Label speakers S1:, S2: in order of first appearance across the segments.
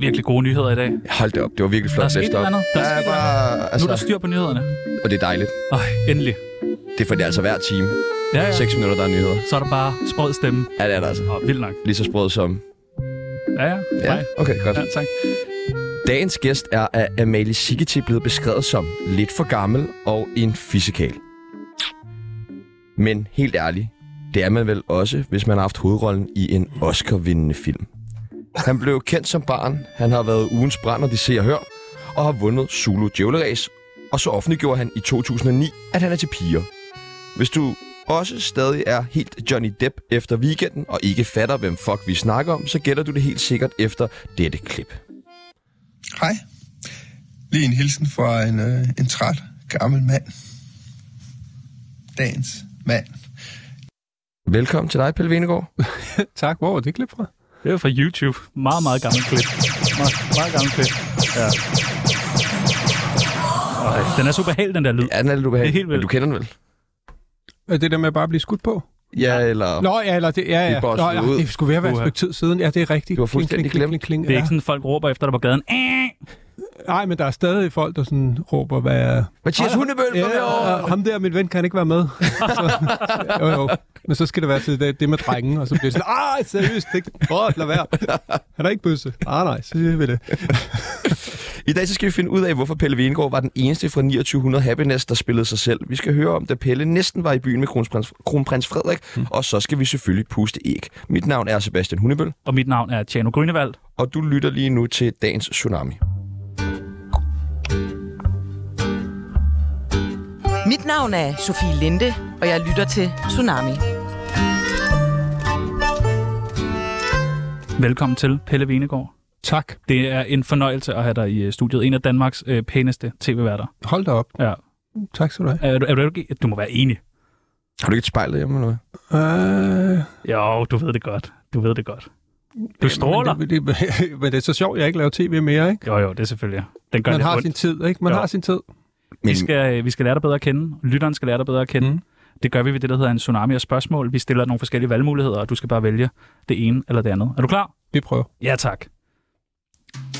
S1: virkelig gode nyheder i dag.
S2: Hold da op, det var virkelig
S1: Der er
S2: flot
S1: sket et
S2: setup.
S1: eller andet. Der er sket et eller
S2: bare,
S1: Nu er der
S2: altså,
S1: styr på nyhederne.
S2: og det er dejligt.
S1: Øj, endelig.
S2: Det er for det er altså hver time.
S1: Ja, ja.
S2: 6 minutter, der er nyheder.
S1: Så er der bare sprød stemme.
S2: Ja, det er der altså.
S1: Åh, vildt nok.
S2: Lige så sprød som...
S1: Ja, ja.
S2: Ja,
S1: Nej.
S2: okay, godt.
S1: ja tak.
S2: Dagens gæst er af Amalie Sigeti blevet beskrevet som lidt for gammel og en fysikal. Men helt ærligt, det er man vel også, hvis man har haft hovedrollen i en Oscar-vindende film. Han blev kendt som barn, han har været ugens brænder, de ser og hører, og har vundet Zulu Djævleræs, og så offentliggjorde han i 2009, at han er til piger. Hvis du også stadig er helt Johnny Depp efter weekenden, og ikke fatter, hvem fuck vi snakker om, så gætter du det helt sikkert efter dette klip.
S3: Hej. Lige en hilsen fra en, øh, en træt, gammel mand. Dagens mand.
S2: Velkommen til dig, Pelle Venegård.
S4: Tak, hvor er det klip fra?
S1: Det er fra YouTube. Meget, meget gammel klip. Meget, meget gammel klip. Ja. Øj, den er så behagelig, den der lyd.
S2: Ja, den er lidt ubehagelig.
S1: Det er helt vildt.
S2: Men Du kender den vel?
S4: Er det der med bare at blive skudt på?
S2: Ja, eller...
S4: Nå, ja, eller det, ja,
S2: Vi
S4: ja.
S2: bossede
S4: Nå, ja,
S2: ud.
S4: det skulle være at være et
S1: Uha.
S4: stykke tid siden. Ja, det er rigtigt.
S2: Du har fuldstændig
S4: Kling, kling,
S1: Det er
S4: kling,
S1: ikke
S4: kling,
S1: sådan, folk råber efter dig på gaden. "Æh!"
S4: ja. Nej, men der er stadig folk, der sådan råber, hvad er...
S2: Mathias Hundebøl, kom
S4: Ja,
S2: herover!
S4: og ham der, min ven, kan ikke være med. Så, jo, jo. Men så skal det være til det, det med drengen, og så bliver det sådan, ah, seriøst, det, Åh, lad være. Han er ikke bøsse. Ah, nej, så siger vi det.
S2: I dag så skal vi finde ud af, hvorfor Pelle Venegård var den eneste fra 2900 Happiness, der spillede sig selv. Vi skal høre om, da Pelle næsten var i byen med kronprins, kronprins Frederik,
S1: Hmm.
S2: og så skal vi selvfølgelig puste æg. Mit navn er Sebastian Hundebøl,
S1: Og mit navn er Tjano Grønevald.
S2: og du lytter lige nu til dagens Tsunami.
S5: Mit navn er Sofie Linde, og jeg lytter til Tsunami.
S1: Velkommen til Pelle Venegård.
S4: Tak.
S1: Det er en fornøjelse at have dig i øh, studiet. En af Danmarks øh, pæneste tv-værter.
S4: Hold da op.
S1: Ja.
S4: Tak skal du have.
S1: Er du, er du, ikke- du må være enig.
S2: Har du ikke et spejl derhjemme eller hvad?
S4: Øh,
S1: Jo, du ved det godt. Du ved det godt. Du stråler.
S4: Men det, det, men det er så sjovt, jeg ikke laver tv mere, ikke?
S1: Jo, jo, det er selvfølgelig. Den gør
S4: Man
S1: lidt
S4: har
S1: ondt.
S4: sin tid, ikke? Man
S1: Jo.
S4: har sin tid.
S1: Vi
S2: Men-
S1: skal, øh, vi skal lære dig bedre at kende. Lytteren skal lære dig bedre at kende. Mm.
S4: Mm.
S1: Det gør vi ved det, der hedder en tsunami af spørgsmål. Vi stiller nogle forskellige valgmuligheder, og du skal bare vælge det ene eller det andet. Er du klar?
S4: Vi prøver.
S1: Ja, tak.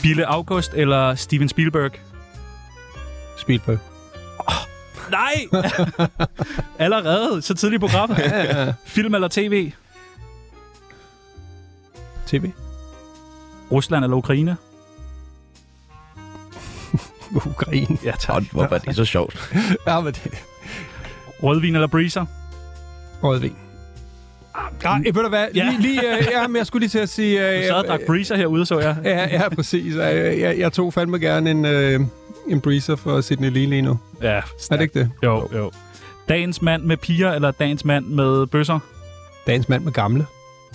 S1: Bille August eller Steven Spielberg?
S4: Spielberg.
S1: Nej! Allerede? Så tidligt i programmet? Film eller tv?
S4: TV.
S1: Rusland eller Ukraine?
S4: Ukraine.
S1: Ja, tak.
S2: Åh, Hvorfor er det så sjovt?
S4: Ja, men det...
S1: Rødvin eller breezer?
S4: Rødvin. Ah, Ja, ved du hvad?
S1: Ja.
S4: Lige, lige, øh, ja, men jeg skulle lige til at sige...
S1: Du
S4: Øh,
S1: sad og drak breezer herude, så jeg.
S4: ja, ja, præcis. Ja, Jeg, jeg tog fandme gerne en, øh, en breezer for Sydney Lee lige nu.
S1: Ja,
S4: Er det ikke det?
S1: jo, jo. Dagens mand med piger, eller dagens mand med bøsser?
S4: Dagens mand med gamle.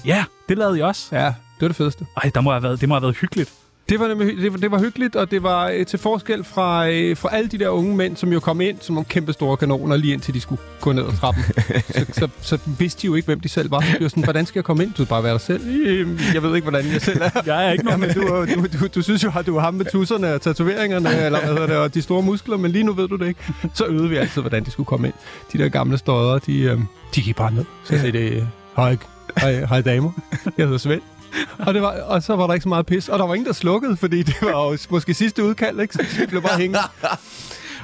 S1: Ja, det lavede I også.
S4: Ja, det var det fedeste.
S1: Ej, der må have været, det må have været hyggeligt.
S4: Det var, nemlig, hy- det, var, det var hyggeligt, og det var øh, til forskel fra, øh, fra alle de der unge mænd, som jo kom ind som nogle kæmpe store kanoner, lige indtil de skulle gå ned ad trappen. så, så, så vidste de jo ikke, hvem de selv var. De var sådan, hvordan skal jeg komme ind? Du skal bare være dig selv. Øh, jeg ved ikke, hvordan jeg selv er.
S1: Jeg er ikke
S4: Ja,
S1: nogen
S4: men du, er jo- du, du, du synes jo, at du er ham med tusserne og tatoveringerne, eller hvad hedder det, og de store muskler, men lige nu ved du det ikke. Så øvede vi altid, hvordan de skulle komme ind. De der gamle støder, de, øh, de gik bare ned. Så sagde det, øh, hej, hej, hej damer, jeg hedder Svend. Og, det var, og så var der ikke så meget pis. Og der var ingen, der slukkede, fordi det var jo s- måske sidste udkald, ikke? Så det blev bare hængende.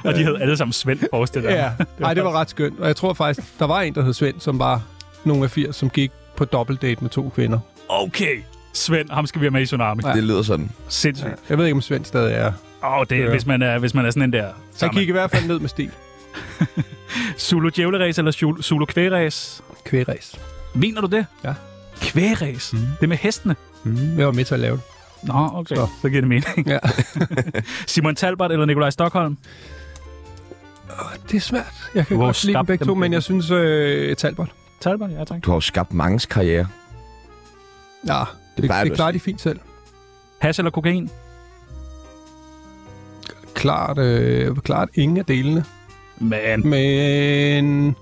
S1: Og de hed alle sammen Svend, forestiller jeg
S4: Ja.
S1: mig.
S4: Ej, det var ret skønt. Og jeg tror faktisk, der var en, der hed Svend, som var nogle af 80, som gik på dobbeltdate med to kvinder.
S1: Okay, Svend, ham skal vi have med i Tsunami. Ja.
S2: Det lyder sådan.
S1: Sindssygt.
S4: Jeg ved ikke, om Svend stadig er.
S1: Åh, oh, det er,
S4: Ja.
S1: hvis, man er, hvis man er sådan en der...
S4: Så jeg gik i hvert fald ned med stil.
S1: Zulu djævleræs eller Zulu- Zulu kværæs?
S4: Kværæs.
S1: Mener du det?
S4: Ja.
S1: Kværæs? Mm. Det er med hestene?
S4: Mm. Jeg var med til at lave det.
S1: Nå, okay. Så,
S4: Så.
S1: så giver det mening.
S4: Ja.
S1: Simon Talbot eller Nikolaj Stockholm?
S4: Det er svært. Jeg kan
S1: Hvor
S4: Hvor godt lide
S1: skabte
S4: dem begge
S1: dem
S4: to, men
S1: begge?
S4: jeg synes øh, Talbot.
S1: Talbot, ja tak.
S2: Du har jo skabt mangens karriere.
S4: Ja, det, det,
S2: plejer du
S4: det
S2: at
S4: klarer de fint selv.
S1: Hash eller kokain?
S4: Klart, øh, klart ingen af delene.
S1: Man.
S4: Men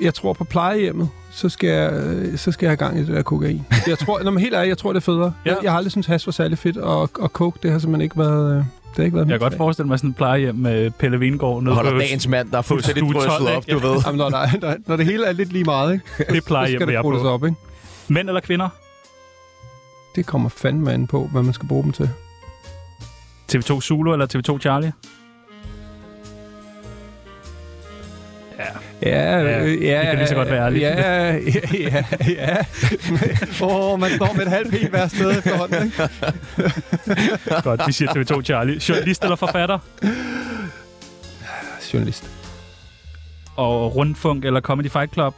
S4: jeg tror på plejehjemmet, så skal jeg, øh, så skal jeg have gang i det der kokain. Jeg tror, når man helt ærligt, jeg tror, det er federe.
S1: Ja.
S4: Ja. Jeg, jeg, har aldrig syntes, hash var særlig fedt, og, og coke, det har simpelthen ikke været... Øh, det har ikke været
S1: Jeg
S4: min
S1: kan godt
S4: smag.
S1: forestille mig sådan en plejehjem med Pelle Vingård nede
S2: Holder
S1: på
S2: dagens mand, der er fuldstændig
S1: stue
S2: drysset
S1: 12,
S2: op,
S1: ikke?
S2: du ved.
S4: Jamen, når, der, er- når, når, det hele er lidt lige meget, ikke?
S1: det
S4: så
S1: plejehjem,
S4: skal
S1: jeg
S4: det
S1: er
S4: bruges
S1: på.
S4: op, ikke?
S1: Mænd eller kvinder?
S4: Det kommer fandme an på, hvad man skal bruge dem til.
S1: TV2 Zulu eller TV2 Charlie?
S4: Ja,
S1: Ja,
S4: øh, ja,
S1: vi kan lige så godt være ærlige.
S4: Ja, ja, ja. ja. Åh, oh, man står med et halvt ben hver sted efterhånden, ikke?
S1: Godt, vi siger TV2 Charlie. Journalist eller forfatter?
S4: Journalist.
S1: Og Rundfunk eller Comedy Fight Club?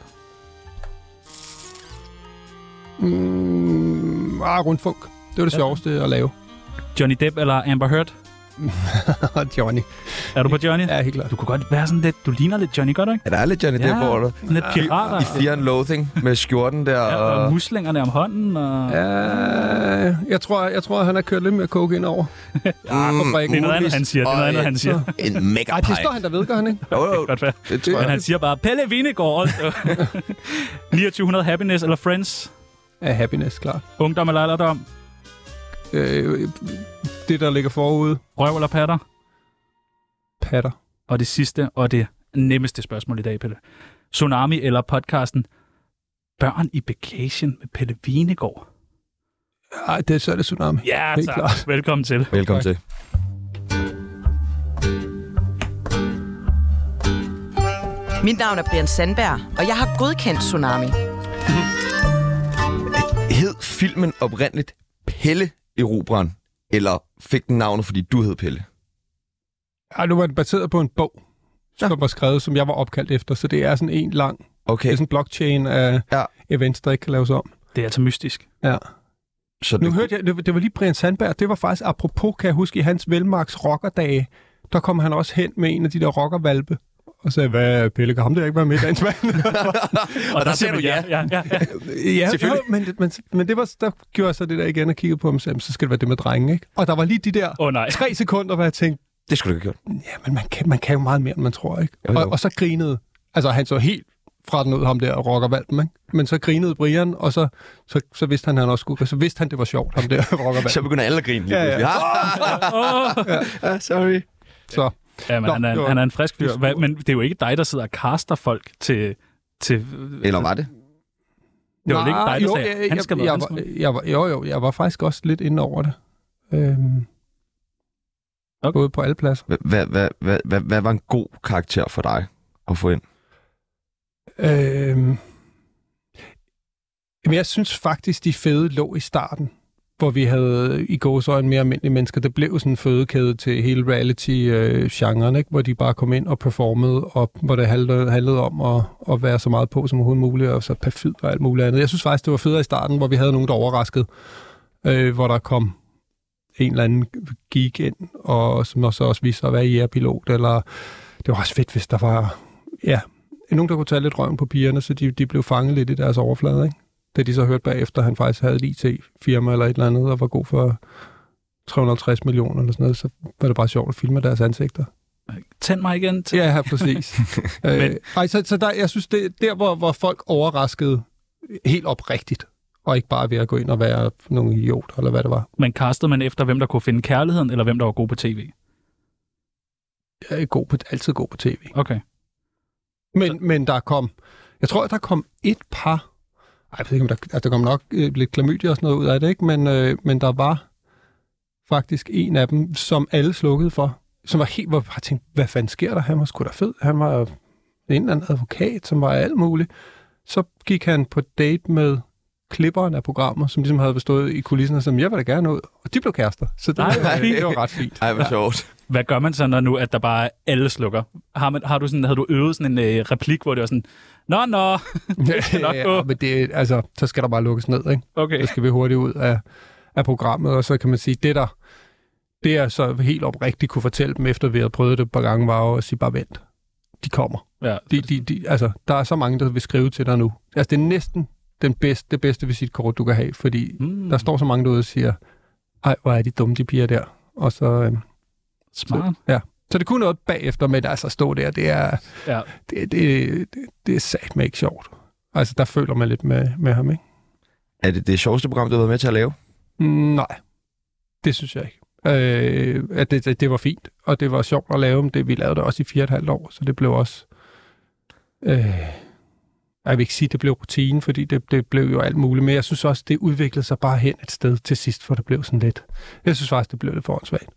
S4: Mm, ah, rundfunk. Det var det
S1: Ja.
S4: sjoveste at lave.
S1: Johnny Depp eller Amber Heard?
S4: Johnny.
S1: Er du på Johnny?
S4: Ja, helt klart.
S1: Du kunne godt være sådan lidt... Du ligner lidt Johnny, gør du ikke?
S2: Ja, der er lidt Johnny Depp over dig.
S1: sådan lidt pirater.
S2: I Fear and Loathing med skjorten der.
S1: Ja,
S2: og...
S1: og muslingerne om hånden, og... Ja.
S4: Uh, jeg, tror, jeg tror, han har kørt lidt mere coke ind over.
S1: Mm. Det er noget andet, han siger. Det er noget
S2: Og
S1: andet, han
S2: et-
S1: siger.
S2: En mega
S4: Ej, det står han der ved, gør han ikke?
S2: Jo, jo,
S1: Godt være.
S2: det tror
S1: Men
S2: jeg.
S1: han siger bare, Pelle Vinegård. 2900 Happiness eller Friends?
S4: Ja, happiness, klart.
S1: Ungdom eller alderdom?
S4: Øh, det, der ligger forude,
S1: Røv eller patter?
S4: patter.
S1: Og det sidste og det nemmeste spørgsmål i dag, Pelle. Tsunami eller podcasten Børn i Vacation med Pelle Vinegård?
S4: Ej, det, så er det tsunami.
S1: Ja,
S4: Helt
S1: tak.
S4: klart.
S1: Velkommen til.
S2: Velkommen til.
S5: Mit navn er Brian Sandberg, og jeg har godkendt Tsunami.
S2: Hed filmen oprindeligt Pelle Erobran? Eller fik den navnet, fordi du hed Pelle?
S4: Ej, nu var den baseret på en bog,
S2: Nå.
S4: som var skrevet, som jeg var opkaldt efter. Så det er sådan en lang
S2: Okay,
S4: Det er sådan en blockchain af
S2: Ja.
S4: ja. events, der ikke kan laves om.
S1: Det er altså mystisk.
S4: Ja.
S2: så
S4: Nu
S2: det-
S4: hørte jeg, det det var lige Brian Sandberg, det var faktisk apropos, kan jeg huske, i hans velmarks rockerdage, der kom han også hen med en af de der rockervalpe, og sagde, hvad Pelle, kan ham der ikke være med i dagens mand?
S1: Og,
S2: der sagde du
S1: simpelthen- ja, ja, ja.
S4: ja, jo,
S2: Selvfølgelig.
S4: men, men, men det var, der gjorde jeg så det der igen og kiggede på ham og sagde, "Men så skal det være det med drenge, ikke? Og der var lige de der
S1: Åh oh, nej.
S4: tre sekunder, hvor jeg tænkte,
S2: det skulle du ikke have gjort.
S4: jamen man kan, man kan jo meget mere, end man tror, ikke?
S2: Jo, jo.
S4: Og, og så grinede, altså han så helt fra den ud, ham der rockervalpen, ikke? Men så grinede Brian, og så, så, så vidste han, han også skulle, så vidste han, det var sjovt, ham der rockervalpen.
S2: Så begynder alle at grine lige
S4: Ja, ja.
S2: pludselig.
S1: Oh.
S2: Ah, sorry.
S4: Så
S1: Ja, men
S4: Nå,
S1: han, er,
S4: det var-
S1: han er en frisk
S4: det
S1: fyr.
S4: er
S1: Hva,
S4: super.
S1: men det er jo ikke dig, der sidder og kaster folk til... til
S2: Eller var det?
S1: Det var vel ikke
S4: Nej,
S1: dig, der sagde,
S4: jeg,
S1: han
S4: jeg,
S1: skal være
S4: jeg,
S1: dansker?
S4: var, jeg var, Jo, jo, jeg var faktisk også lidt inde over det. Øhm,
S1: Okay.
S4: okay. Både på alle pladser.
S2: Hvad- hvad- hvad- hvad- hvad- Hvad var en god karakter for dig at få ind?
S4: Øhm, jamen, jeg synes faktisk, de fede lå i starten, hvor vi havde i gåsøjne mere almindelige mennesker. Det blev sådan en fødekæde til hele reality-genren, ikke? hvor de bare kom ind og performede, og hvor det handlede, handlede om at, at være så meget på som overhovedet muligt, og så perfid og alt muligt andet. Jeg synes faktisk, det var federe i starten, hvor vi havde nogen, der overraskede, øh, hvor der kom en eller anden geek ind, og som så også viste sig at være jægerpilot, eller det var også fedt, hvis der var ja, nogen, der kunne tage lidt røven på pigerne, så de, de blev fanget lidt i deres overflade, ikke? Da de så hørte bagefter, at han faktisk havde et IT-firma eller et eller andet, og var god for 350 millioner eller sådan noget, så var det bare sjovt at filme deres ansigter.
S1: Tænd mig igen. Til...
S4: Ja, ja, præcis. øh,
S1: Men-
S4: ej, så, så der, jeg synes, det der, hvor, hvor folk overraskede helt oprigtigt, og ikke bare ved at gå ind og være nogle idioter, eller hvad det var.
S1: Men kastede man efter, hvem der kunne finde kærligheden, eller hvem der var god på tv?
S4: Jeg er god på, altid god på tv.
S1: Okay.
S4: Men, men der kom, jeg tror, der kom et par, ej, jeg ved ikke, om der, altså, der kom nok øh, lidt klamydia og sådan noget ud af det, ikke? Men, øh, men der var faktisk en af dem, som alle slukkede for, som var helt, hvor jeg bare tænkte, hvad fanden sker der? Han var sgu da fed. Han var en eller anden advokat, som var alt muligt. Så gik han på date med klipperen af programmer, som ligesom havde bestået i kulissen, og som jeg vil da gerne ud. Og de blev kærester. Så det,
S1: Ej,
S4: var,
S1: hvor
S4: det var ret fint.
S2: Ej, hvor sjovt.
S1: Hvad gør man så, når nu, at der bare er alle slukker? Har, man, har du sådan, havde du øvet sådan en øh, replik, hvor det var sådan, Nå, nå, det skal nok
S4: Ja,
S1: gå.
S4: men det, altså, så skal der bare lukkes ned, ikke?
S1: Okay.
S4: så skal vi hurtigt ud af, af programmet, og så kan man sige, det der, det jeg så helt oprigtigt kunne fortælle dem, efter vi havde prøvet det et par gange, var jo at sige, bare vent, de kommer.
S1: Ja.
S4: De, de, de, altså, der er så mange, der vil skrive til dig nu. Altså, det er næsten den bedste, det bedste visitkort, du kan have, fordi mm.
S1: Mm,
S4: der står så mange derude og siger, ej, hvor er de dumme, de piger der. Og så, øhm,
S1: smart.
S4: ja. Så det kunne noget bagefter, men altså at stå der, det er,
S1: Ja.
S4: det, det, det, det er satme ikke sjovt. Altså, der føler man lidt med, med ham, ikke?
S2: Er det det sjoveste program, du har været med til at lave?
S4: Mm, Nej, det synes jeg ikke. Øh, at det, det, det var fint, og det var sjovt at lave, men det, vi lavede det også i fire og et halvt år, så det blev også... Øh, jeg vil ikke sige, at det blev rutine, fordi det, det blev jo alt muligt, men jeg synes også, det udviklede sig bare hen et sted til sidst, for det blev sådan lidt. Jeg synes faktisk, det blev lidt for åndssvagt.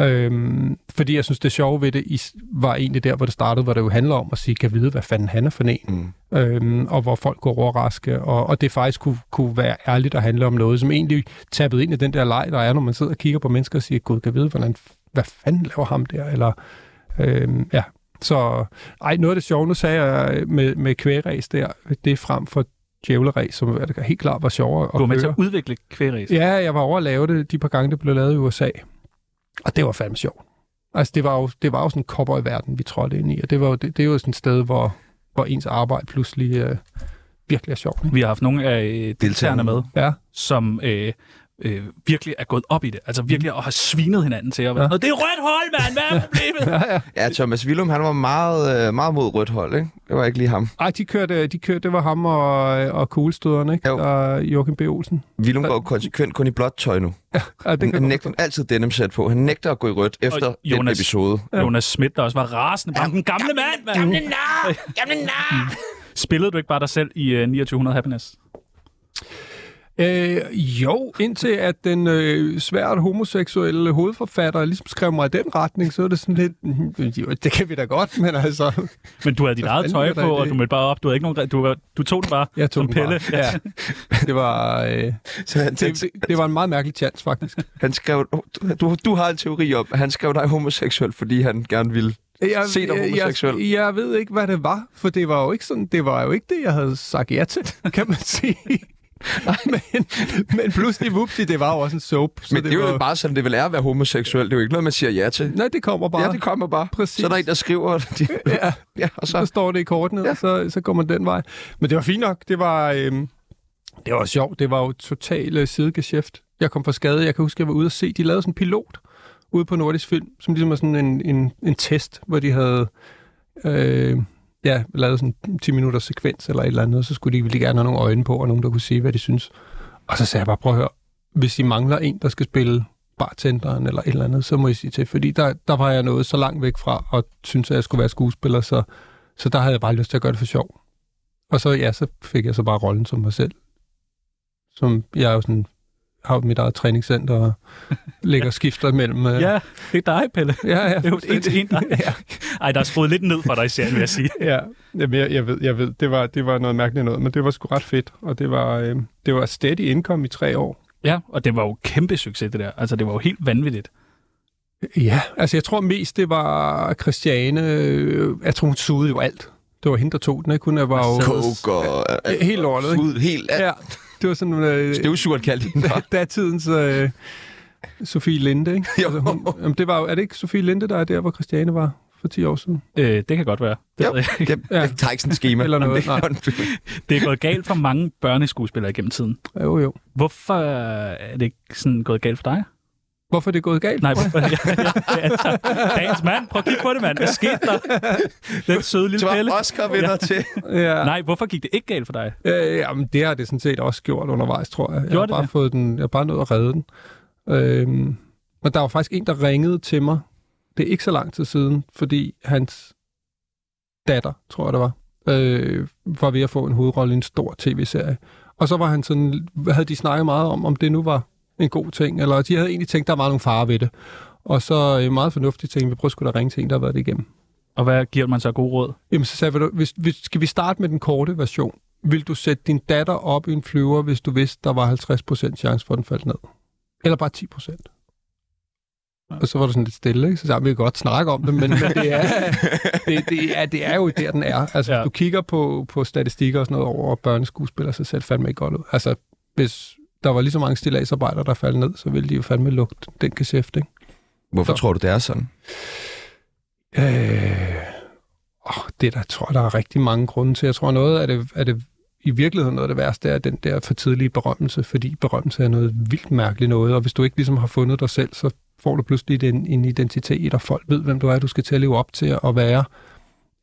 S4: Øhm, fordi jeg synes, det sjove ved det i, var egentlig der, hvor det startede, hvor det jo handler om at sige, kan vide, hvad fanden han er for en, mm. øhm, og hvor folk går overraske, og, og det faktisk kunne, kunne være ærligt at handle om noget, som egentlig tappede ind i den der leg, der er, når man sidder og kigger på mennesker og siger, gud, kan vide, hvordan, hvad fanden laver ham der, eller øhm, ja. Så ej, noget af det sjove, nu sagde jeg øh, med, med kvægræs der, det er frem for djævleræs, som er- helt klart var sjovere at
S1: Du var med til
S4: køre.
S1: at udvikle kvægræs.
S4: Ja, jeg var over at lave det de par gange, det blev lavet i USA. Og det var fandme sjovt. Altså, det var jo, det var jo sådan en cowboy-verden, vi trådte ind i, og det, var jo, det, det er jo sådan et sted, hvor, hvor ens arbejde pludselig øh, virkelig er sjovt. Ikke?
S1: Vi har haft nogle af øh, deltagerne med,
S4: Ja,
S1: som øh, øh, virkelig er gået op i det. Altså virkelig og har svinet hinanden til at være
S4: Ja.
S1: ja. Det er rødt hold, mand! Hvad er problemet?
S4: ja, ja.
S2: Ja, Thomas Willum, han var meget, øh, meget mod rødt hold, ikke? Det var ikke lige ham.
S4: Ej, de kørte, de kørte, det var ham og, og kuglestøderne, ikke?
S2: Jo.
S4: Og Joachim B. Olsen.
S2: Willum går jo konsekvent kun i blåt tøj nu.
S4: Ja, det
S2: Han
S4: kan
S2: nægter altid denim sæt på. Han nægter at gå i rødt efter
S1: Og
S2: den
S1: Jonas-
S2: episode.
S1: Jonas Schmidt, der også var rasende. Bare, den gamle mand, mand! Gamle nar! Gamle nar! Spillede du ikke bare dig selv i øh, 2900 Happiness?
S4: Øh, jo, indtil at den øh, svært homoseksuelle hovedforfatter ligesom skrev mig i den retning, så er det sådan lidt, "Mhm, jo, det kan vi da godt, men altså,
S1: Men du havde dit
S4: Hvad
S1: eget
S4: fanden
S1: tøj
S4: er der i
S1: på, og
S4: det?
S1: du mødte bare op. Du, havde ikke nogen, re- du, var, du tog den bare
S4: jeg tog
S1: som
S4: den
S1: pille.
S4: Bare. Ja. Det var, øh,
S2: Så han,
S4: det, det, det var en meget mærkelig chance, faktisk.
S2: han skrev, du- du, du har en teori om, at han skrev dig homoseksuel, fordi han gerne ville.
S4: Jeg,
S2: Se dig homoseksuel.
S4: Jeg, jeg ved ikke, hvad det var, for det var jo ikke sådan, det var jo ikke det, jeg havde sagt ja til, kan man sige. Nej, men, men pludselig, vupti, det var jo også en soap. Så
S2: Men det, det er jo bare sådan, det vil er at være homoseksuel. Det er jo ikke noget, man siger ja til.
S4: Nej, det kommer bare.
S2: Ja, det kommer bare.
S4: Præcis.
S2: Så er der en, der skriver. De,
S4: Ja.
S2: ja, og
S4: så
S2: så,
S4: står det i kortene, ja. og så, så går man den vej. Men det var fint nok. Det var, øhm, det var sjovt. Det var jo totalt øh, sidegeschæft. Jeg kom fra skade. Jeg kan huske, jeg var ude og se, de lavede sådan en pilot ude på Nordisk Film, som ligesom var sådan en, en, en test, hvor de havde øh, ja, lavet sådan en 10 minutters sekvens eller et eller andet, og så skulle de ville de gerne have nogle øjne på, og nogen, der kunne sige, hvad de synes. Og så sagde jeg bare, prøv at høre, hvis I mangler en, der skal spille bartenderen eller et eller andet, så må I sige til, fordi der, der var jeg nået så langt væk fra, og syntes, at jeg skulle være skuespiller, så så der havde jeg bare lyst til at gøre det for sjov. Og så, ja, så fik jeg så bare rollen som mig selv. Som jeg er jo sådan, har jo mit eget træningscenter og ligger og skifter mellem... øh,
S1: Ja, det er dig, Pelle.
S4: ja, ja.
S1: Det er jo en til en dig.
S4: ja.
S1: Ej, der er skruet lidt ned for dig i serien, vil jeg sige.
S4: Ja, Jamen, jeg, jeg ved, jeg ved det, var, det var noget mærkeligt noget, men det var sgu ret fedt, og det var, øh, det var steady income i tre år.
S1: Ja, og det var jo kæmpe succes, det der. Altså, det var jo helt vanvittigt.
S4: Ja, altså jeg tror mest, det var Christiane, øh, jeg tror hun sugede jo alt. Det var hende, der tog den, ikke? Hun var jo...
S2: Altså, coke og...
S4: Ja, helt lortet, ikke?
S2: Ud, helt alt.
S4: Ja, det var sådan... Øh,
S2: Støvsugeren kaldte hende. bare.
S4: datidens øh, Sofie Linde, ikke? Altså,
S2: Jo.
S4: hun, jamen, det var, jo- er det ikke Sofie Linde, der er der, hvor Christiane var for 10 år siden?
S1: Øh, det kan godt være. Det,
S2: Jo.
S1: ved jeg ikke.
S2: Jeg, jeg tager ikke sådan et schema.
S4: Eller noget, nej.
S1: det er gået galt for mange børneskuespillere gennem tiden.
S4: Jo, jo.
S1: Hvorfor er det ikke sådan gået galt for dig?
S4: Hvorfor er det gået galt?
S1: Nej, hvorfor? Ja, ja, altså, dagens mand, prøv at kigge på det, mand. Hvad skete der? Den søde
S2: Det
S1: lille Pelle.
S2: var Oscar-vinder ja. til.
S4: Ja,
S1: Nej, hvorfor gik det ikke galt for dig?
S4: øh, jamen, det har det sådan set også gjort undervejs, tror jeg. jeg
S1: Gjorde
S4: har
S1: det
S4: bare
S1: det?
S4: fået den, jeg har bare nået at redde den. Øhm, men der var faktisk en, der ringede til mig. Det er ikke så lang tid siden, fordi hans datter, tror jeg det var, øh, var ved at få en hovedrolle i en stor tv-serie. Og så var han sådan, havde de snakket meget om, om det nu var en god ting, eller de havde egentlig tænkt, der var nogle farer ved det. Og så øh, meget fornuftigt tænkte vi prøver sgu da at ringe til en, der har været det igennem.
S1: Og hvad giver man så gode råd?
S4: Jamen, så sagde jeg, "Ved du, hvis, hvis, skal vi starte med den korte version? Vil du sætte din datter op i en flyver, hvis du vidste, der var 50% chance for, at den faldt ned? Eller bare 10%? Og så var det sådan lidt stille, ikke? Så sagde jeg, vi kan godt snakke om det, men, men det, er, det, det, er, det er jo der, den er. Altså, ja.
S1: Ja.
S4: hvis du kigger på, på statistikker og sådan noget over børneskuespillere, så ser det fandme ikke godt ud. Altså, hvis der var lige så mange stillagsarbejdere, der faldt ned, så ville de jo fandme lugte den geschæft, ikke?
S2: Hvorfor
S4: Så.
S2: tror du, det er sådan?
S4: Øh, åh, det er der, tror jeg, der er rigtig mange grunde til. Jeg tror, noget af det, er det i virkeligheden noget af det værste er den der for tidlige berømmelse, fordi berømmelse er noget vildt mærkeligt noget, og hvis du ikke ligesom har fundet dig selv, så får du pludselig den, en identitet, og folk ved, hvem du er, du skal til at leve op til at være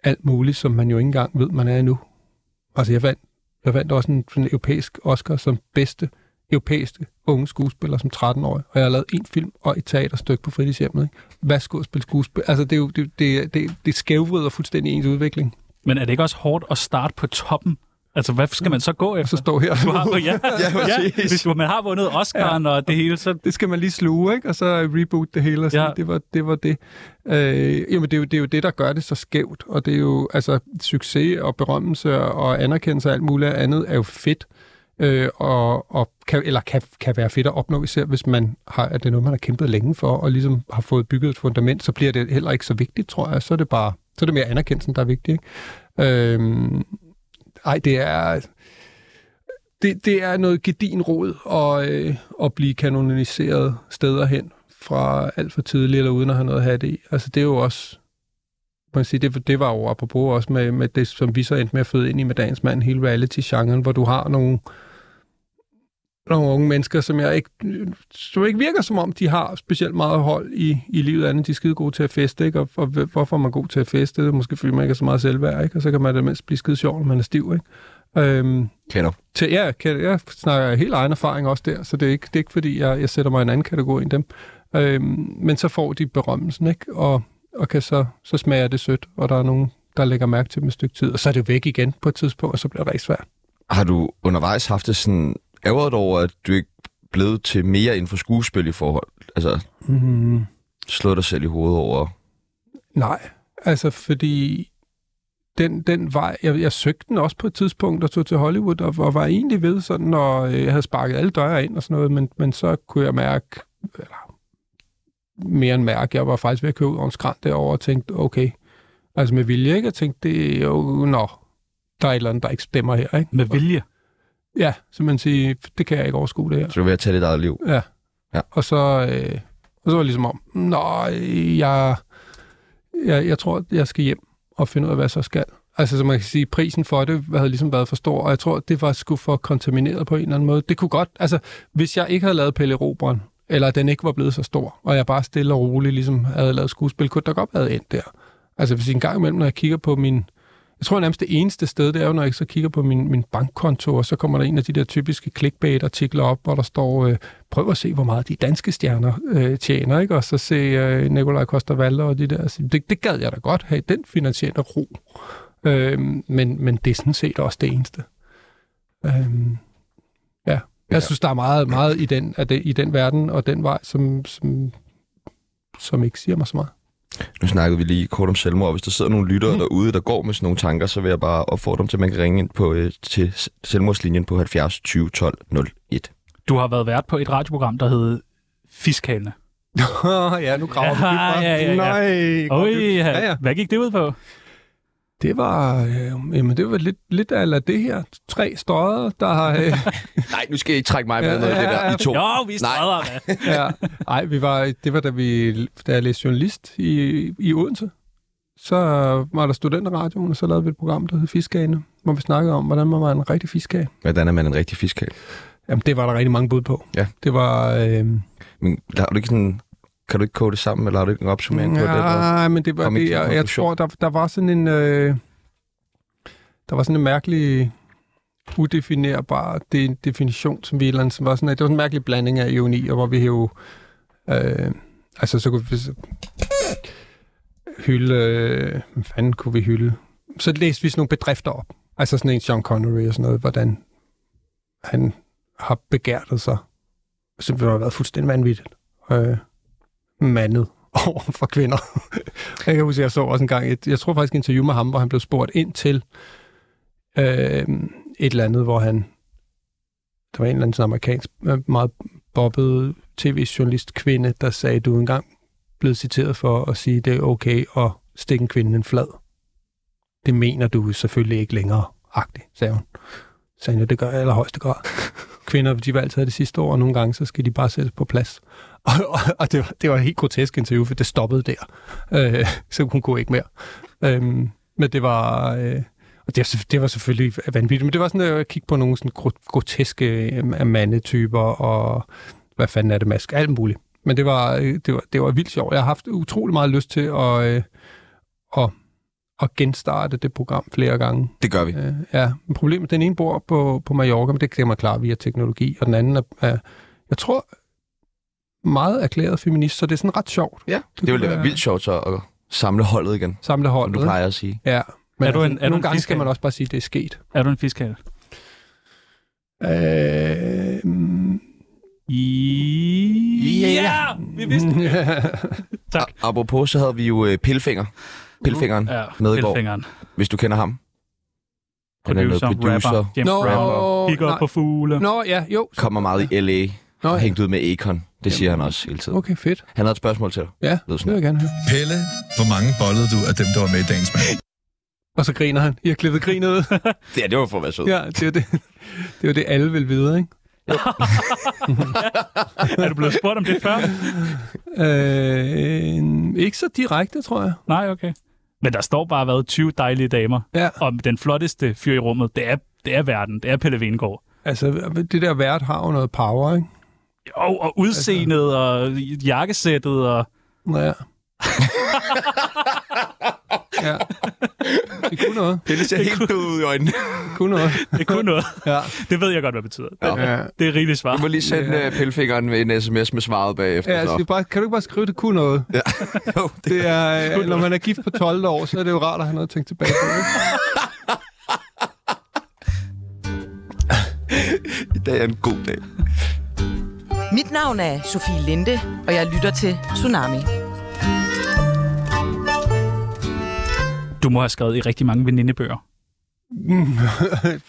S4: alt muligt, som man jo ikke engang ved, man er endnu. Altså, jeg vandt, jeg vandt også en, en europæisk Oscar som bedste europæiske unge skuespiller som 13-årig, og jeg har lavet en film og et teaterstykke på fritidshjemmet. Ikke? Hvad skulle jeg spille skuespil? Altså, det, er jo, det, det, det, det skævvrider fuldstændig ens udvikling.
S1: Men er det ikke også hårdt at starte på toppen Altså, hvad skal man så gå
S4: Så
S1: efter?
S4: står her.
S1: Du har, ja, ja,
S2: præcis.
S1: hvis man har vundet Oscar'en og det hele, så
S4: det skal man lige sluge, ikke? Og så reboot det hele og sige,
S1: Ja.
S4: ja. det var det. Var det. Øh, jamen, det er, jo, det er jo det, der gør det så skævt, og det er jo, altså, succes og berømmelse og anerkendelse og alt muligt andet er jo fedt, øh, og, og kan, eller kan, kan være fedt at opnå, især hvis man har, at det er noget, man har kæmpet længe for, og ligesom har fået bygget et fundament, så bliver det heller ikke så vigtigt, tror jeg. Så er det bare, så er det mere anerkendelsen, der er vigtig, ikke? Øh, ej, det er, det, det er noget gedin råd at, øh, at blive kanoniseret steder hen fra alt for tidligt eller uden at have noget at have det i. Altså det er jo også, man sige, det, det var jo apropos også med, med det, som vi så endte med at føde ind i med dagens mand, hele reality-genren, hvor du har nogle, nogle unge mennesker, som jeg ikke, som ikke virker som om, de har specielt meget hold i, i livet andet. De er skide gode til at feste, ikke? Og, og hvorfor er man god til at feste? Det er måske fordi man ikke er så meget selvværd, ikke? Og så kan man da mindst blive skide sjov, når man er stiv, ikke? Øhm,
S2: Kender.
S4: til, ja, kan, jeg snakker af helt egen erfaring også der, så det er ikke, det er ikke fordi, jeg, jeg sætter mig i en anden kategori end dem. Øhm, men så får de berømmelsen, ikke? Og, og kan så, så smager det sødt, og der er nogen, der lægger mærke til dem et stykke tid, og så er det væk igen på et tidspunkt, og så bliver det rigtig svært.
S2: Har du undervejs haft det sådan ærgeret over, at du ikke blev til mere inden for skuespil i forhold? Altså,
S4: Mm,
S2: slå dig selv i hovedet over...
S4: nej, altså fordi den, den vej, jeg, jeg søgte den også på et tidspunkt, og tog til Hollywood, og, og var egentlig ved sådan, og øh, jeg havde sparket alle døre ind og sådan noget, men, men så kunne jeg mærke, eller mere end mærke, jeg var faktisk ved at køre ud over en skrant derovre og tænkte, okay, altså med vilje, ikke? Jeg tænkte, det er jo, nå, der er et eller andet, der ikke stemmer her, ikke?
S1: med vilje.
S4: Ja, så man siger, det kan jeg ikke overskue det her.
S2: Så du er ved at tage dit eget liv.
S4: Ja.
S2: Ja.
S4: Og så, øh, og så var det ligesom om, nå, øh, jeg, jeg, jeg tror, jeg skal hjem og finde ud af, hvad jeg så skal. Altså, som man kan sige, prisen for det havde ligesom været for stor, og jeg tror, det var sgu for kontamineret på en eller anden måde. Det kunne godt, altså, hvis jeg ikke havde lavet Pelle Robren, eller den ikke var blevet så stor, og jeg bare stille og roligt ligesom havde lavet skuespil, kunne der godt have været endt der. Altså, hvis en gang imellem, når jeg kigger på min... Jeg tror nærmest det eneste sted, det er jo, når jeg så kigger på min, min bankkonto, og så kommer der en af de der typiske clickbait-artikler op, hvor der står, øh, prøv at se, hvor meget de danske stjerner øh, tjener, ikke? og så se øh, Nikolaj coster Valder og de der. og sige, Det, det gad jeg da godt have, den finansielle ro. Øh, men, men det er sådan set også det eneste. Øh, ja. Jeg
S2: Ja.
S4: synes, der er meget, meget i den, af det, i den verden og den vej, som, som, som ikke siger mig så meget.
S2: Nu snakkede vi lige kort om selvmord. Hvis der sidder nogle lyttere derude, der går med sådan nogle tanker, så vil jeg bare opfordre dem til, at man kan ringe ind på, øh, til s- selvmordslinjen på 70 20 12 01.
S1: Du har været vært på et radioprogram, der hed Fiskalene.
S4: Åh, ja, nu graver vi
S1: Ja,
S4: dybt, hva'?
S1: ja, ja, ja.
S4: Nej, går
S1: Oj,
S4: dybt.
S1: ja,
S4: ja, ja.
S1: hvad gik det ud på?
S4: Det var, øh, jamen, det var lidt, lidt af det her. Tre støder, der har... Øh,
S2: Nej, nu skal I ikke trække mig
S4: med ned i det der, I
S2: to.
S1: Jo, vi
S2: Nej.
S1: stræder, hvad?
S4: ja. Ej, vi var, det var da, vi, da jeg læste journalist i, i Odense. Så var der studenterradioen, og så lavede vi et program, der hed Fiskagene, hvor vi snakkede om, hvordan man var en rigtig fiskag.
S2: Hvordan er man en rigtig fiskal?
S4: Jamen, det var der rigtig mange bud på.
S2: Ja.
S4: Det var... Øh,
S2: Men har du ikke sådan, kan du ikke kode det sammen, eller har du ikke en opsummering på det? eller?
S4: Nej, men det var
S2: kom ikke
S4: det,
S2: til en
S4: jeg, jeg
S2: konklusion.
S4: tror, der, der var sådan en... Øh, der var sådan en mærkelig udefinerbar de, definition, som vi et eller andet, som var sådan, at det var sådan en mærkelig blanding af ironi, og hvor vi jo... Øh, altså, så kunne vi så hylde... Øh, hvad fanden kunne vi hylde? Så læste vi sådan nogle bedrifter op. Altså sådan en Sean Connery og sådan noget, hvordan han har begærtet sig. Så det har været fuldstændig vanvittigt. Øh, mandet over for kvinder. jeg kan huske, jeg så også en gang, et, jeg tror faktisk et interview med ham, hvor han blev spurgt ind til øh, et eller andet, hvor han, der var en eller anden sådan amerikansk, øh, meget bobbet tv-journalist kvinde, der sagde, du er engang blevet citeret for at sige, det er okay at stikke en kvinde en flad. Det mener du selvfølgelig ikke længere, agtigt, sagde hun. Så sagde han, "Ja, det gør jeg i allerhøjeste grad. Kvinder, de var altid have det sidste år, og nogle gange, så skal de bare sættes på plads. Og, og, og det, var, det var et helt grotesk interview, for det stoppede der. Øh, så hun kunne ikke mere. Øhm, men det var... Øh, og det, var selvfø- det var selvfølgelig vanvittigt, men det var sådan øh, at kigge på nogle sådan gro- groteske øh, mandetyper, og hvad fanden er det, mask, alt muligt. Men det var, øh, det var, det var vildt sjovt. Jeg har haft utrolig meget lyst til at, øh, at, at genstarte det program flere gange.
S2: Det gør vi.
S4: Øh, ja, men problemet, den ene bor på, på Mallorca, men det kan man klare via teknologi, og den anden er, er jeg tror, meget erklæret feminist, så det er sådan ret sjovt.
S2: Ja, det ville da
S4: kunne
S2: være
S4: være-
S2: vildt sjovt så at samle holdet igen,
S4: Samle
S2: som du
S4: holdet.
S2: plejer at sige.
S4: Ja, Men
S1: Er du en-
S4: altså,
S1: er du en
S4: nogle gange skal
S1: fiskehale?
S4: man også bare sige, at det er sket.
S1: Er du en fiskehale?
S4: Øh, mm,
S1: I...
S2: Ja!
S1: vi vidste det. Tak.
S2: A- apropos, så havde vi jo øh, Pilfinger. Pilfingeren
S1: Ja,
S2: med i går,
S1: Elfingeren.
S2: hvis du kender ham. Han er øh, noget
S1: Producer, rapper, James
S4: Nå,
S1: Rapper. Kigger op
S4: nej.
S1: på fugle.
S4: Nå, ja, jo.
S2: Kommer meget i L.A.
S4: Nå,
S2: og
S4: ja.
S2: hængt ud med Akon. Det siger han også hele tiden.
S4: Okay, fedt.
S2: Han havde et spørgsmål til dig.
S4: Ja,
S2: Lød
S4: det
S2: sådan
S4: vil jeg gerne høre.
S3: Pelle, hvor mange bollede du af dem, der var med i dagens mand?
S4: Og så griner han. I har klippet grinet ud.
S2: Ja, det var for at være sød.
S4: ja, det er jo det. Det er jo det, alle vil vide, ikke?
S1: Er du blevet spurgt om det før?
S4: Øh, ikke så direkte, tror jeg.
S1: Nej, okay. Men der står bare, hvad, 20 dejlige damer.
S4: Ja.
S1: Og den flotteste fyr i rummet, det er, det er verden. Det er Pelle Vingård.
S4: Altså, det der vært har jo noget power, ikke?
S1: Og, og udseendet, og jakkesættet, og...
S4: Ja. ja. Det kunne noget.
S2: Pelle ser helt død ud i øjnene.
S4: Det kunne noget.
S1: Det kunne noget.
S4: Ja.
S1: Det ved jeg godt, hvad det betyder. Det,
S2: Ja.
S4: ja.
S1: det er rigeligt svar.
S2: Du må lige sende yeah. Pillefingeren med en sms med svaret bagefter.
S4: Ja, altså, det er bare, kan du ikke bare skrive, det kunne noget?
S2: Ja. jo, det,
S4: Det er, øh, når man er gift på 12 år, så er det jo rart at have noget at tænke tilbage på. Ikke?
S2: i dag er en god dag.
S5: Mit navn er Sofie Linde, og jeg lytter til Tsunami.
S1: Du må have skrevet i rigtig mange venindebøger.
S4: Men,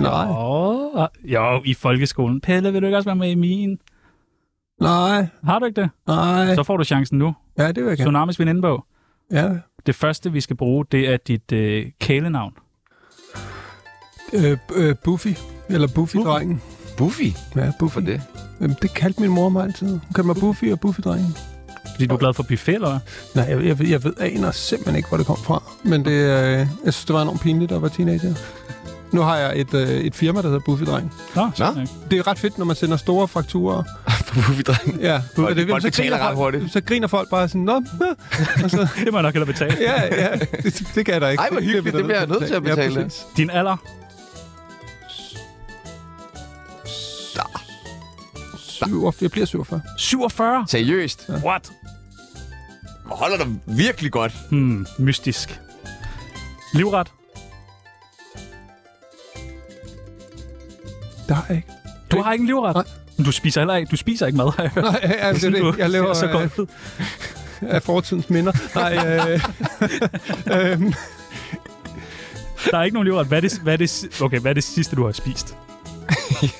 S4: nej,
S1: Åh, jo, i folkeskolen. Pelle, vil du ikke også være med i min?
S4: nej,
S1: Har du ikke det?
S4: nej.
S1: Så får du chancen nu.
S4: Ja, det vil jeg gerne.
S1: Tsunamis venindebog.
S4: Ja.
S1: Det første, vi skal bruge, det er dit øh, kælenavn.
S4: Øh, øh, Buffy, eller Buffy-drengen.
S2: Buffy?
S4: Ja, Buffy.
S2: For det?
S4: Jamen, det kaldte min mor mig altid. Hun kaldte mig Buffy og Buffy-drengen.
S1: Fordi du er glad for buffet, eller hvad?
S4: Nej, jeg, jeg, jeg ved aner simpelthen ikke, hvor det kom fra. Men det, øh, jeg synes, det var enormt pinligt, da jeg var teenager. Nu har jeg et, øh, et firma, der hedder Buffy Dreng.
S1: Nå, sjovt
S2: Nå.
S1: nok.
S4: Det er ret fedt, når man sender store fakturer.
S2: Buffy-dreng.
S4: Ja,
S2: Folk-
S4: og det,
S2: folk
S4: så,
S2: betaler
S4: griner
S2: ret hurtigt.
S4: folk, så griner folk bare sådan, Nå,
S1: det må jeg nok hellere betale.
S4: ja, ja, det, det kan jeg da ikke.
S2: Ej, hvor hyggeligt, det bliver jeg nødt til at betale.
S4: Ja, præcis.
S1: Din alder?
S4: Syv- jeg bliver 47.
S1: 47?
S2: Seriøst?
S1: What?
S2: Holder dig virkelig godt.
S1: Hmm, mystisk. Livret?
S4: Der er ikke.
S1: Du har ikke en livret?
S4: Nej.
S1: Men Du spiser heller ikke, du spiser ikke mad, har jeg hørt.
S4: Nej, ja, det er
S1: Sådan,
S4: det.
S1: du
S4: Jeg
S1: ser
S4: lever
S1: så
S4: øh,
S1: godt ud.
S4: af fortidens minder. Nej, øh, øhm,
S1: Der er ikke nogen livret. Hvad er, det, hvad, er det, si- okay, hvad er det sidste, du har spist? det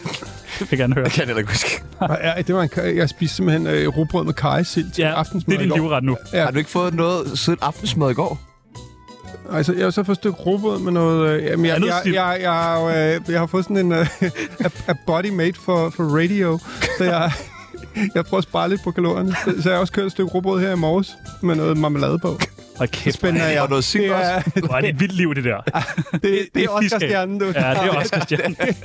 S1: vil jeg gerne høre.
S2: Jeg kan heller ikke huske.
S4: ja, det var en, jeg spiste simpelthen øh, rugbrød med karrysild til
S1: Ja, det
S4: aftensmad
S1: er din
S4: i går.
S1: livret nu.
S4: Ja.
S2: Har du ikke fået noget siden aftensmad i går?
S4: Altså, jeg har så fået et stykke råbrød med noget... Øh, jamen, jeg,
S1: Andet
S4: jeg,
S1: stil.
S4: jeg, jeg, jeg, jeg, jeg har fået sådan en... Øh, a, a body made for, for radio. Så jeg, jeg prøver at spare lidt på kalorierne. Så, så jeg har også kørt et stykke råbrød her i morges med noget marmelade på.
S1: Hold kæft,
S4: Spændende,
S2: Og noget sild
S4: det,
S2: også?
S4: er,
S1: hvor er det et vildt liv, det der.
S4: det, det, det er
S1: fisk af.
S4: Oscar-stjernen, du.
S1: Ja, det er også Christian.
S4: det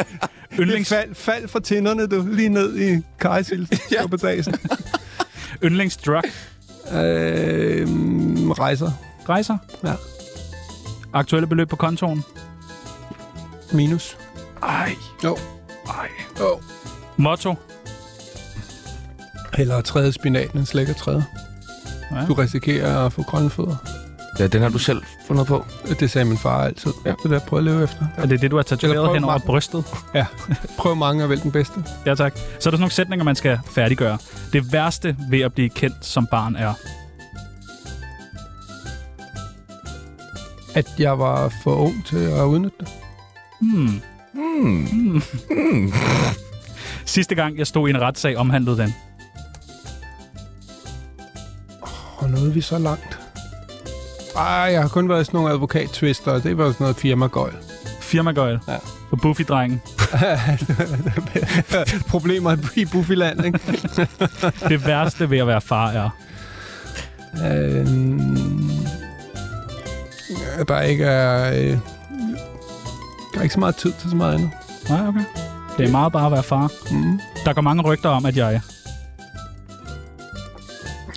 S1: Yndlings,
S4: fald, fald fra tænderne, du. Lige ned i kajsild ja. på dagen.
S1: yndlingsdrug
S4: Øh, rejser.
S1: rejser.
S4: Ja.
S1: Aktuelle beløb på kontoen.
S4: Minus.
S1: Ej.
S4: Jo.
S1: Ej.
S4: Jo.
S1: Motto.
S4: Eller træde spinaten, en slækker træde.
S1: Ja.
S4: Ja. Du risikerer at få grønne fødder.
S2: Ja, den har du selv fundet på.
S4: Det sagde min far altid. Ja. Det er det, jeg prøver at leve efter.
S1: Er det det, du har
S4: Eller prøv
S1: tatoveret hen over
S4: mig.
S1: brystet?
S4: Ja, prøv mange og vælg den bedste.
S1: Ja, tak. Så er der sådan nogle sætninger, man skal færdiggøre. Det værste ved at blive kendt som barn er...
S4: At jeg var for ung til at udnytte det.
S1: Hmm. Hmm. Sidste gang, jeg stod i en retssag, omhandlede den.
S4: Og nåede vi så langt. Ej, jeg har kun været i sådan nogle advokat-twister, og det var sådan noget firmagøjl.
S1: Firmagøjl.
S4: Ja.
S1: For Buffy-drengen.
S4: Problemer i Buffyland, ikke?
S1: Det værste ved at være far er...
S4: øhm, der ikke er... Øh, der er ikke så meget tid til så meget andet.
S1: Nej, okay. Det er meget bare at være far.
S4: Mm.
S1: Der går mange rygter om, at jeg...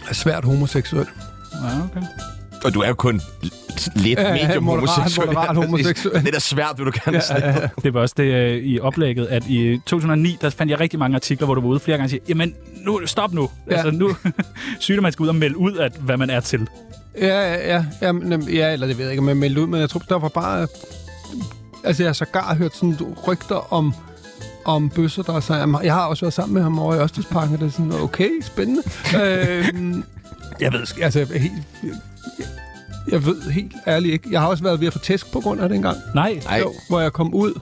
S4: Er svært homoseksuel.
S1: Ja, okay.
S2: Og du er jo kun lidt
S4: Ja, ja,
S2: medium
S4: moderat-
S2: homoseksuel.
S4: moderat
S2: Præcis.
S4: homoseksuel.
S2: Det er da svært, vil du gerne ja, ja, ja.
S1: Det var også det øh, i oplægget, at i 2009, der fandt jeg rigtig mange artikler, hvor du var ude flere gange og sige, jamen, nu, stop nu. Ja.
S4: Ja.
S1: Altså, nu synes man skal ud og melde ud, at, hvad man er til.
S4: Ja, ja, ja, jamen, jamen, ja, eller det ved jeg ikke, om jeg meldte ud, men jeg tror, der var bare... Altså, jeg har sågar hørt sådan rygter om, om bøsser, der er sammen. Jeg har også været sammen med ham over i Ørstedsparken, og det er sådan, okay, spændende. øhm, jeg ved sk- altså, jeg, er helt, jeg, jeg ved helt ærligt ikke. Jeg har også været ved at få tæsk på grund af det engang.
S1: Nej,
S2: Ej.
S4: Jo, hvor jeg kom ud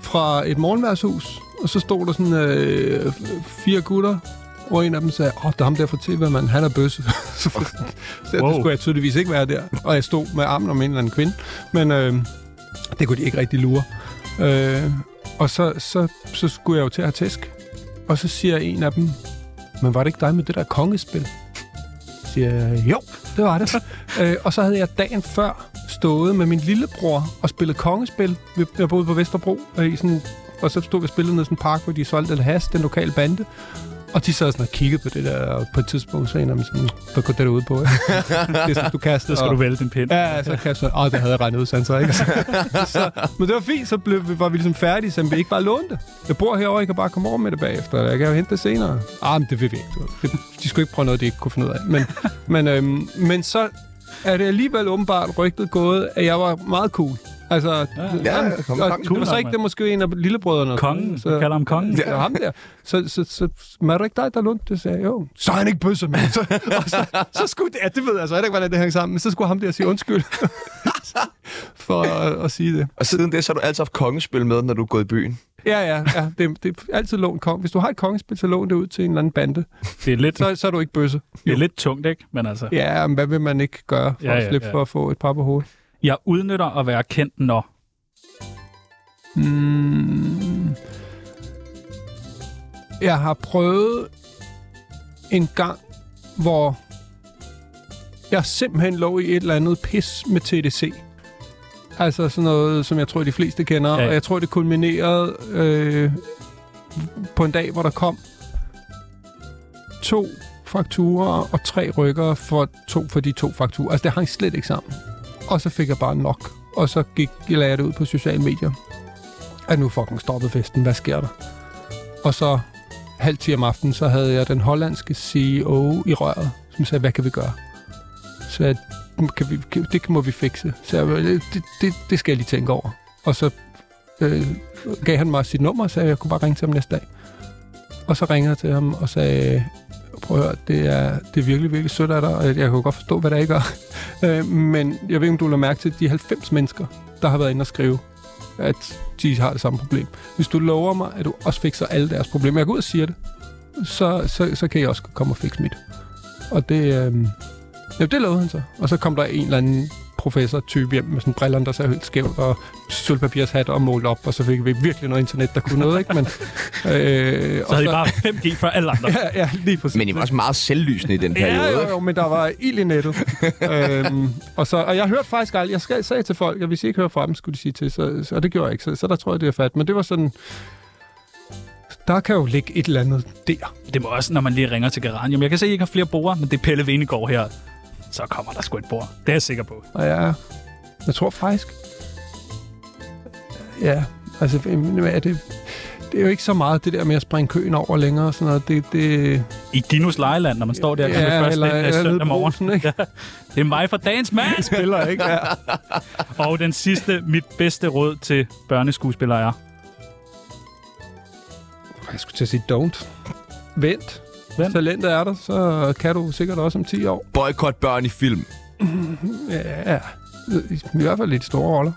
S4: fra et morgenværshus, og så stod der sådan øh, f- fire gutter, og en af dem sagde, åh, oh, der er ham der fra tv mand, han er bøsse. så wow. det
S1: Wow.
S4: skulle jeg tydeligvis ikke være der. Og jeg stod med armen om en eller anden kvinde, men øh, det kunne de ikke rigtig lure. Øh, og så, så, så skulle jeg jo til at have tæsk, og så siger en af dem, men var det ikke dig med det der kongespil? Så siger jeg, jo, det var det. øh, og så havde jeg dagen før stået med min lillebror og spillet kongespil. Vi- Jeg boede på Vesterbro, og, i sådan, og så stod vi og spillede ned i sådan en park, hvor de solgte eller has, den lokale bande. Og de sad sådan og kiggede på det der, og på et tidspunkt sagde de sådan, hvad går det derude på? ikke?" det er sådan, du kaster,
S1: så skal du vælge din pind. Ja.
S4: Ja, så kaster jeg, åh, det havde jeg regnet ud, sagde han så, ikke? så, men det var fint, så blev, vi- var vi ligesom færdige, så vi ikke bare lånte det. Jeg bor herovre, jeg kan bare komme over med det bagefter, eller jeg kan jo hente det senere. Ah, men det vil vi ikke. du ved. Det- De skulle ikke prøve noget, de ikke kunne finde ud af. Men, men, øhm, men så er det alligevel åbenbart rygtet gået, at jeg var meget cool. Altså, ja,
S2: ja, kom,
S4: og,
S2: kom.
S4: det var
S1: Cool,
S4: så ikke
S1: mand.
S4: det måske en af lillebrødrene.
S1: Kongen, så... kalder ham kongen.
S4: Ja. Det var ham der. Så, så, så, så var det ikke dig, der lånte det? Så sagde jeg, jo. Så er han ikke bøsse, mand. Så, og så, så skulle det, ja, det ved jeg så ikke, hvordan det hang sammen, men så skulle ham der sige undskyld for at, at sige det.
S2: Og siden det, så har du altid haft kongespil med, når du er gået i byen.
S4: Ja, ja, ja. Det, det er altid lån kong. Hvis du har et kongespil, så lån det ud til en eller anden bande.
S1: Det, er lidt,
S4: Så, så er du ikke bøsse.
S1: det er lidt tungt, ikke? Men altså, ja.
S4: Ja, men hvad vil man ikke gøre for
S1: Ja,
S4: ja,
S1: ja,
S4: at slippe
S1: ja.
S4: ja. for at få et par på hovedet?
S1: jeg udnytter at være kendt, når...
S4: Mm. Jeg har prøvet en gang, hvor jeg simpelthen lå i et eller andet pis med TDC. Altså sådan noget, som jeg tror, de fleste kender.
S1: Ja,
S4: Ja.
S1: ja.
S4: Og jeg tror, det kulminerede øh, på en dag, hvor der kom to fakturer og tre rykker for, to, for de to fakturer. Altså, det hang slet ikke sammen. Og så fik jeg bare nok. Og så gik, lagde jeg det ud på sociale medier. At nu er fucking stoppet festen. Hvad sker der? Og så halv 10 om aftenen, så havde jeg den hollandske CEO i røret, som sagde, hvad kan vi gøre? Så jeg, kan vi, kan, det må vi fikse. Så jeg, "Øh, det, det, det skal jeg lige tænke over. Og så øh, gav han mig sit nummer og sagde, at jeg kunne bare ringe til ham næste dag. Og så ringede jeg til ham og sagde, prøv at høre, det er, det er virkelig, virkelig sødt af dig, og jeg kan godt forstå, hvad der ikke er. Øh, men jeg ved ikke, om du lader mærke til de 90 mennesker, der har været inde og skrive, at de har det samme problem. Hvis du lover mig, at du også fikser alle deres problemer, jeg går ud og siger det, så, så, så kan jeg også komme og fikse mit. Og det, øh, ja, det lovede han så. Og så kom der en eller anden professor-type hjem med sådan brillerne, der sad helt skævt, og sølvpapirshat og målt op, og så fik vi virkelig noget internet, der kunne noget, ikke? Men, øh,
S1: Så havde de bare 5G før alle andre.
S4: Ja, ja, lige præcis.
S2: Men I var også meget selvlysende i den periode.
S4: Ja, jo,
S2: ikke?
S4: jo, men der var ild i nettet. øhm, og, så, og jeg hørte faktisk aldrig, jeg skal- sagde til folk, at hvis I ikke hører fra dem, skulle de sige til, så, så, og det gjorde jeg ikke, så, så der tror jeg, det er fat. Men det var sådan, der kan jo ligge et eller andet der.
S1: Det må også, når man lige ringer til Geranium. Jeg kan se, at I ikke har flere borde, men det er Pelle Venegård her. Så kommer der sgu et bord. Det er jeg sikker på.
S4: Og jeg, jeg tror faktisk, ja, altså, hvad er det, det er jo ikke så meget det der med at springe køen over længere og sådan noget. Det, det,
S1: I Dinos lejeland, når man står der ja, først eller, lidt, eller, søndag
S4: nede i
S1: morgen.
S4: brugsen, ikke?
S1: Det er mig fra dagens mand!
S4: Spiller, ikke? Ja.
S1: Og den sidste, mit bedste råd til børneskuespillere er...
S4: Jeg skulle til at sige don't. Vent.
S1: Vent.
S4: Vent. Talentet er der, så kan du sikkert også om 10 år.
S2: Boykot børn i film.
S4: Ja, ja. I, i hvert fald lidt store roller.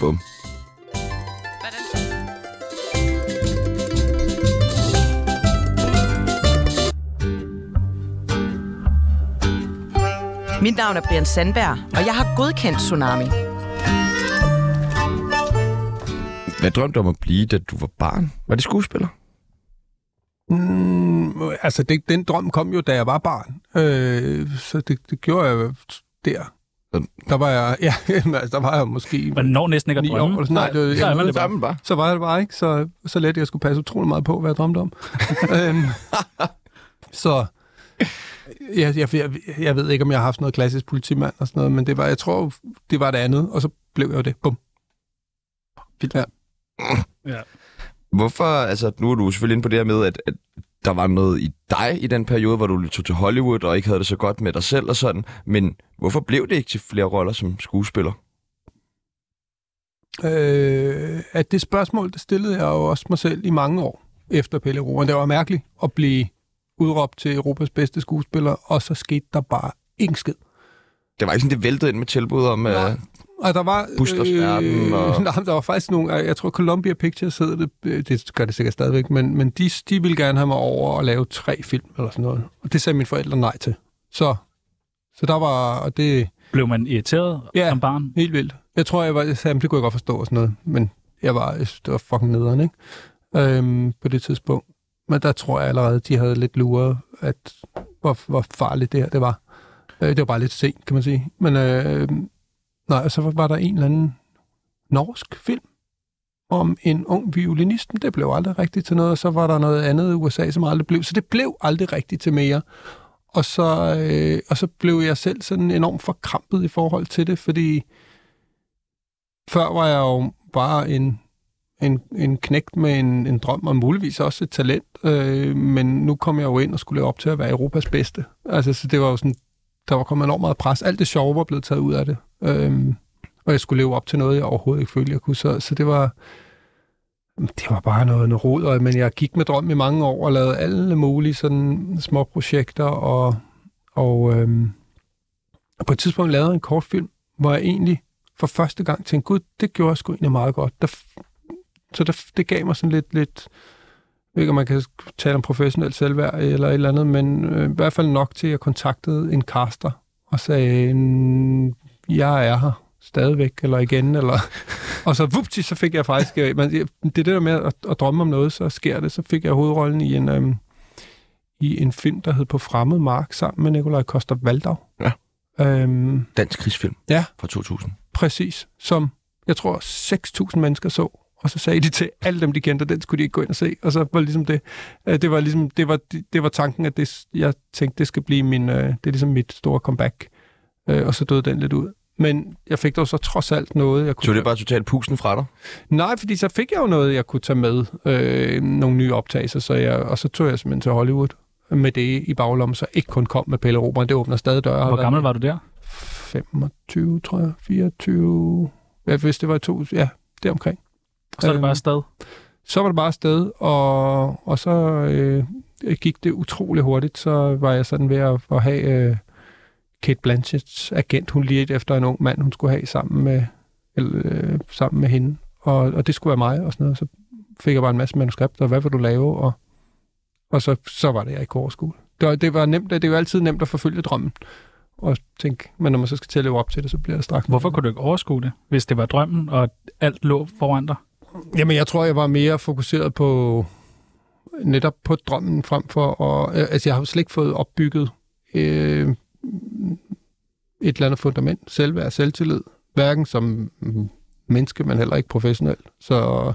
S2: Bum.
S5: Mit navn er Brian Sandberg, og jeg har godkendt Tsunami.
S2: Hvad drømte du om at blive, da du var barn? Var det skuespiller?
S4: Mm, altså, det, den drøm kom jo, da jeg var barn. Øh, så det, det gjorde jeg der.
S2: Sådan.
S4: Der var jeg, ja, altså, der var jeg måske
S1: Man når næsten ikke at
S4: 9 år.
S1: drømme.
S4: Eller sådan, nej, det, var-
S1: så er man
S4: jeg, nåede-
S1: det bare.
S2: Sammen bare.
S4: så var jeg det bare ikke, så, så let jeg skulle passe utrolig meget på, hvad jeg drømte om. øhm, så Jeg, jeg, jeg, jeg ved ikke, om jeg har haft noget klassisk politimand og sådan noget, men det var, jeg tror, det var det andet, og så blev jeg jo det. Bum. Vildt. Ja.
S1: Ja.
S2: Hvorfor, altså nu er du selvfølgelig inde på det her med, at, at der var noget i dig i den periode, hvor du tog til Hollywood og ikke havde det så godt med dig selv og sådan, men hvorfor blev det ikke til flere roller som skuespiller?
S4: Øh, at det spørgsmål, det stillede jeg jo også mig selv i mange år efter Pelle Roen. Det var mærkeligt at blive udråbt til Europas bedste skuespiller, og så skete der bare ingen skid.
S2: Det var ikke sådan, det væltede ind med tilbud om...
S4: Nej.
S2: Øh,
S4: Og der var... øh,
S2: Busters Verden og-
S4: Nej, men der var faktisk nogle... Jeg tror, Columbia Pictures hedder det. øh, Det gør det sikkert stadigvæk, men, men de, de ville gerne have mig over og lave tre film eller sådan noget. Og det sagde mine forældre nej til. Så, så der var... Og det er
S1: Blev man irriteret
S4: Ja.
S1: som barn?
S4: helt vildt. Jeg tror, jeg var... Jeg sagde, "Jamen, det kunne jeg godt forstå og sådan noget. Men jeg var... Jeg synes, det var fucking nederen, ikke? Øhm, på det tidspunkt. Men der tror jeg allerede, de havde lidt luret, at hvor, hvor farligt det her det var. Øh, det var bare lidt sent, kan man sige. Men øh, nej, og så var der en eller anden norsk film om en ung violinist, men det blev aldrig rigtigt til noget, og så var der noget andet i USA, som aldrig blev, så det blev aldrig rigtigt til mere. Og så, øh, og så blev jeg selv sådan enormt forkrampet i forhold til det, fordi før var jeg jo bare en, en, en knægt med en, en drøm, og muligvis også et talent, øh, men nu kom jeg jo ind og skulle leve op til at være Europas bedste. Altså, så det var jo sådan, der var kommet enormt meget pres. Alt det sjove var blevet taget ud af det. Øh, og jeg skulle leve op til noget, jeg overhovedet ikke følte, jeg kunne. Så, så det var det var bare noget, noget rod, og, men jeg gik med drøm i mange år og lavede alle mulige sådan små projekter, og, og øhm, og på et tidspunkt lavede jeg en kortfilm, hvor jeg egentlig for første gang tænkte, gud, det gjorde jeg sgu egentlig meget godt. Der, f- så der, f- det gav mig sådan lidt, lidt jeg ved ikke, om man kan tale om professionel selvværd eller et eller andet, men øh, i hvert fald nok til, at jeg kontaktede en caster og sagde, "Mm, jeg er her stadigvæk, eller igen, eller... Og så vupti, så fik jeg faktisk... øh, Men det det er det der med at, at drømme om noget, så sker det. Så fik jeg hovedrollen i en, øhm, i en film, der hed På fremmed mark, sammen med Nikolaj Koster Valdau.
S2: Ja.
S4: Øhm,
S2: dansk krigsfilm
S4: Ja.
S2: fra 2000.
S4: præcis, som jeg tror 6.000 mennesker så, og så sagde de til alle dem, de kendte, og den skulle de ikke gå ind og se, og så var det ligesom det, øh, det var ligesom, det var, det var tanken, at det, jeg tænkte, det skal blive min, øh, det er ligesom mit store comeback, øh, og så døde den lidt ud. Men jeg fik dog så trods alt noget, jeg kunne...
S2: Så det er bare totalt pusen fra dig?
S4: Nej, fordi så fik jeg jo noget, jeg kunne tage med. Øh, nogle nye optagelser, så jeg, og så tog jeg simpelthen til Hollywood med det i baglommen, så ikke kun kom med Pelle Roberen. Det åbner stadig døre.
S1: Hvor gammel var du der?
S4: 25, tror jeg. 24. Ja, hvis det var i to, ja, det omkring.
S1: Og så er det
S4: Øhm.
S1: bare afsted.
S4: Så var det bare afsted, og, og så øh, gik det utrolig hurtigt. Så var jeg sådan ved at, at have øh, Kate Blanchetts agent. Hun lige efter en ung mand, hun skulle have sammen med, eller, øh, sammen med hende. Og, og det skulle være mig og sådan noget. Så fik jeg bare en masse manuskripter, og hvad vil du lave? Og, og så, så var det, jeg ikke kunne overskue. Det var, det var nemt, det er jo altid nemt at forfølge drømmen. Og tænke, men når man så skal til at leve op til det, så bliver det straks.
S1: Hvorfor kunne du ikke overskue det, hvis det var drømmen, og alt lå foran dig?
S4: Jamen, jeg tror, jeg var mere fokuseret på netop på drømmen frem for at... øh, Altså, jeg har jo slet ikke fået opbygget øh, et eller andet fundament, selvværd, selvtillid, hverken som mm, menneske, men heller ikke professionelt. Så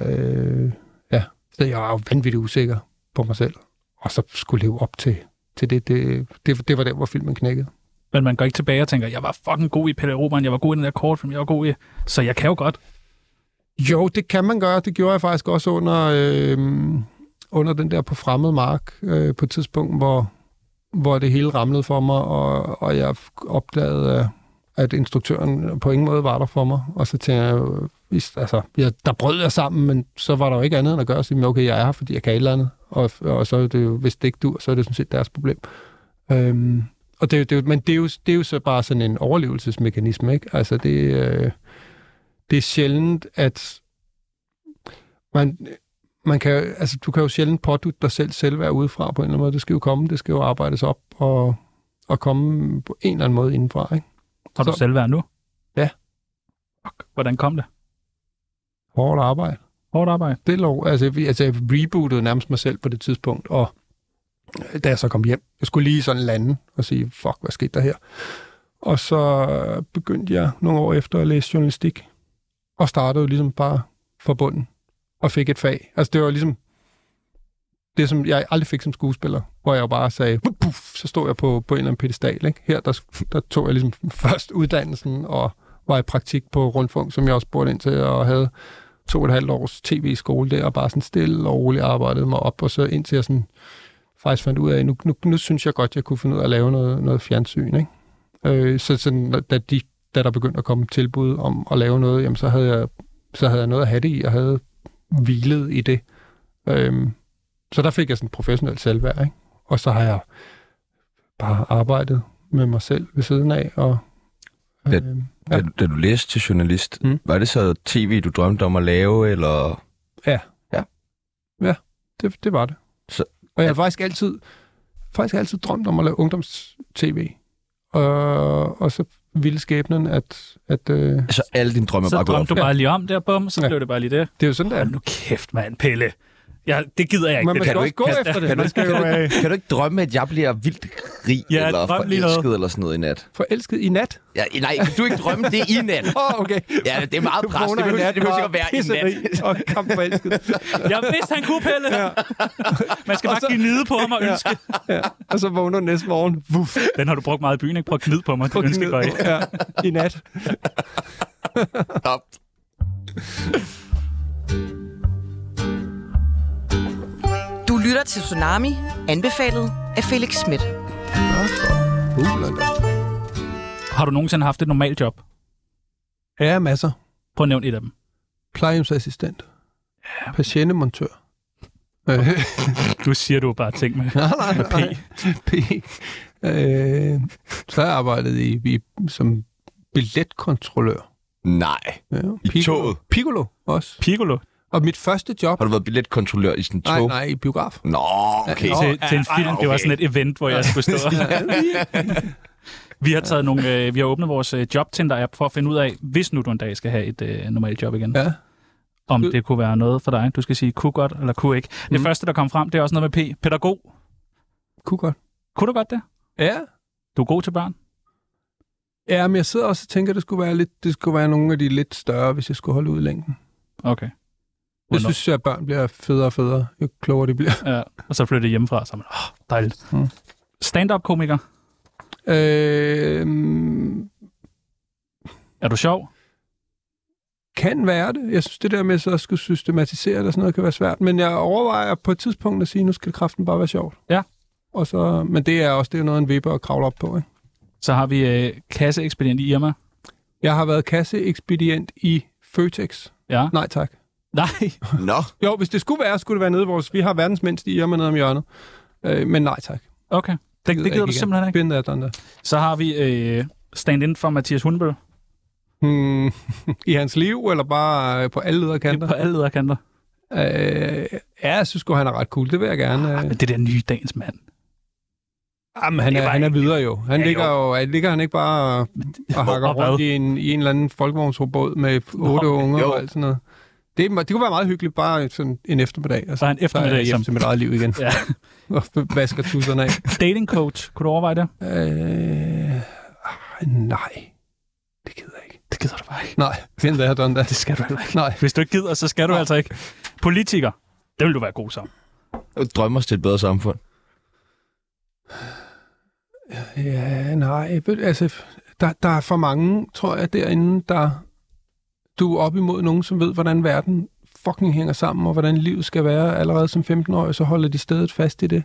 S4: øh, ja, så jeg var jo vanvittigt usikker på mig selv, og så skulle leve op til, til det, det, det. Det var der, hvor filmen knækkede.
S1: Men man går ikke tilbage og tænker, jeg var fucking god i Pelle Roberen, jeg var god i den der kortfilm, jeg var god i... Så jeg kan jo godt.
S4: Jo, det kan man gøre. Det gjorde jeg faktisk også under, øh, under den der på fremmed mark øh, på et tidspunkt, hvor, hvor det hele ramlede for mig, og, og jeg opdagede, øh, at instruktøren på ingen måde var der for mig. Og så tænkte jeg, jo, hvis- altså, jeg, der brød jeg sammen, men så var der jo ikke andet end at gøre, at sige, "Men okay, jeg er her, fordi jeg kan et eller andet. Og, og så er det jo, hvis det ikke dur, så er det sådan set deres problem. Øhm, og det, er jo- det, er jo- men det er, jo, det er jo så bare sådan en overlevelsesmekanisme, ikke? Altså det... Øh, det er sjældent, at man, man kan, altså, du kan jo sjældent pådutte dig selv selvværd udefra på en eller anden måde. Det skal jo komme, det skal jo arbejdes op og, og komme på en eller anden måde indenfra. Ikke?
S1: Har du
S4: Så-
S1: selvværd nu?
S4: Ja.
S1: Fuck, hvordan kom det?
S4: Hårdt arbejde.
S1: Hårdt arbejde.
S4: Det er lov. Altså, vi, altså, jeg rebootede nærmest mig selv på det tidspunkt, og øh, da jeg så kom hjem, jeg skulle lige sådan lande og sige, fuck, hvad skete der her? Og så øh, begyndte jeg nogle år efter at læse journalistik, og startede jo ligesom bare fra bunden, og fik et fag. Altså, det var ligesom, det, som jeg aldrig fik som skuespiller, hvor jeg jo bare sagde, "Wup, puff, så stod jeg på, på en eller anden pedestal. Ikke? Her der, der tog jeg ligesom først uddannelsen og var i praktik på Rundfunk, som jeg også spurgte ind til, og havde to og et halvt års tv-skole der, og bare sådan stille og roligt arbejdede mig op, og så indtil jeg sådan faktisk fandt ud af, nu, nu, nu synes jeg godt, jeg kunne finde ud af at lave noget, noget fjernsyn. Ikke? Øh, så sådan, da, de, da der begyndte at komme tilbud om at lave noget, jamen, så, havde jeg, så havde jeg noget at have det i, og havde hvilet i det. Øhm, så der fik jeg sådan professionel selvværd, ikke? Og så har jeg bare arbejdet med mig selv ved siden af, og...
S2: Hvad-
S4: øhm,
S2: Ja. Da, da du læste til journalist,
S4: Mm.
S2: mm. var det så tv, du drømte om at lave, eller...
S4: det, det var det.
S2: Så-
S4: og jeg har faktisk altid, faktisk altid drømt om at lave ungdoms-tv. Og, og så ville skæbnen, at, at øh,
S2: Altså, alle dine drømme
S1: Så
S2: bare gået
S1: drømte
S2: op.
S1: du bare lige om der, bum, så
S4: Ja.
S1: blev det bare lige det.
S4: det er jo sådan, der.
S1: Hold nu kæft, mand, Pille. Ja, det gider jeg ikke.
S4: Men man
S1: det
S4: skal
S1: der.
S4: også gå
S1: kan-
S4: efter det.
S2: kan du-
S4: Man skal jo øh,
S2: Kan du ikke drømme, at jeg bliver vildt rig
S1: Ja,
S2: eller
S1: drøm lige noget.
S2: forelsket eller sådan noget i nat?
S4: forelsket i nat.
S2: Ja, nej, kan du ikke drømme det i nat?
S4: Åh, oh, okay.
S2: Ja, det er meget
S4: Du
S2: pres. Det
S4: vågner i
S2: behøver,
S4: nat,
S2: det behøver
S4: bare
S2: ikke at være i nat.
S4: pisseri Og kampforelsket.
S1: Jeg vidste, han kunne, Pelle. Ja. Man skal
S4: Og
S1: bare
S4: så-
S1: give nide på ham og ønske.
S4: ja. Og så vågner du næste morgen. Vuff.
S1: Den har du brugt meget i byen, ikke? Prøv at gnide på mig. Det ønske går ikke.
S4: ja, I nat.
S2: Op.
S5: Du lytter til Tsunami, anbefalet af Felix Schmidt.
S1: Har du nogensinde haft et normalt job?
S4: Ja, masser.
S1: Prøv at nævne et af dem.
S4: Plejehjemsassistent. Ja. Patientemontør. Øh,
S1: Du siger du bare ting med.
S4: nej, nej, nej. P. Øh, så har jeg arbejdet i, i, som billetkontrollør.
S2: Nej.
S4: Ja,
S2: I toget?
S4: Piccolo også.
S1: Piccolo.
S4: Og mit første job...
S2: Har du været billetkontrollør i sådan en
S4: Nej,
S2: tog?
S4: nej, i biograf.
S2: Nå, okay.
S1: til, til en
S4: ja,
S1: film. Det var sådan et event, hvor jeg skulle stå. vi har taget nogle, øh, vi har åbnet vores øh, jobtinder-app for at finde ud af, hvis nu du en dag skal have et øh, normalt job igen, ja.
S4: Ja.
S1: om det kunne være noget for dig. Du skal sige, kunne godt eller kunne ikke. Det
S4: Mm.
S1: første, der kom frem, det er også noget med P. Pædagog.
S4: Kunne godt.
S1: Kunne du godt det?
S4: Ja.
S1: Du er god til børn.
S4: Ja, men jeg sidder også og tænker, at det skulle være, lidt, det skulle være nogle af de lidt større, hvis jeg skulle holde ud i længden.
S1: Okay.
S4: Jeg
S1: Hvornår?
S4: synes, at børn bliver federe og federe, jo klogere de bliver.
S1: Ja, og så flyttede jeg hjemmefra, så er man, åh, oh, dejligt.
S4: Mm.
S1: Stand-up-komiker.
S4: Øh,
S1: Er du sjov?
S4: kan være det. Jeg synes, det der med så at skulle systematisere det og sådan noget, kan være svært. Men jeg overvejer på et tidspunkt at sige, nu skal kraften bare være sjovt.
S1: Ja.
S4: Og så, men det er også det er noget, en vipper at kravle op på. Ikke?
S1: Så har vi øh, kasseekspedient i Irma.
S4: Jeg har været kasseekspedient i Føtex.
S1: Ja.
S4: Nej tak.
S1: Nej.
S2: Nå,
S4: Jo, hvis det skulle være, skulle det være nede i vores... Vi har verdens mindste i nede om hjørnet. Øh, men nej tak.
S1: Okay. Det, det gider
S4: jeg
S1: du
S4: igen.
S1: simpelthen ikke.
S4: Bind af den der.
S1: Så har vi øh, stand-in for Mathias Hundbøl.
S4: Hmm, I hans liv, eller bare øh, på alle leder kanter?
S1: På alle lederkanter.
S4: Øh, ja, jeg synes godt, han er ret cool. Det vil jeg gerne. Øh.
S1: Men det der nye dagens mand.
S4: Jamen, han,
S1: det
S4: er,
S1: var
S4: han er
S1: ikke-
S4: videre jo. Han
S1: Ja,
S4: ja, ligger jo, han ligger han ikke bare og, og hakker
S1: og hvad?
S4: rundt i en, i en eller anden folkevognsrobot med otte
S1: Nå,
S4: unger
S2: jo.
S4: og alt sådan noget. Det, er- det kunne være meget hyggeligt, bare sådan en eftermiddag. Og
S1: Bare en eftermiddag
S4: så er
S1: hjem.
S4: jeg hjemme til mit eget liv igen.
S1: Ja.
S4: og vasker tusserne af.
S1: Dating coach. Kunne du overveje det?
S4: Øh, ah, nej, det gider jeg ikke.
S1: Det gider du bare ikke.
S4: Nej, find det her, done that.
S1: Det skal du heller ikke.
S4: Nej.
S1: Hvis du ikke gider, så skal du
S4: Nej.
S1: altså ikke. Politiker. Det vil du være god som.
S2: du drømmer os til et bedre samfund.
S4: Ja, nej. ved- Altså, der, der er for mange, tror jeg, derinde, der... Du er op imod nogen, som ved, hvordan verden fucking hænger sammen, og hvordan livet skal være allerede som 15-årig, så holder de stedet fast i det.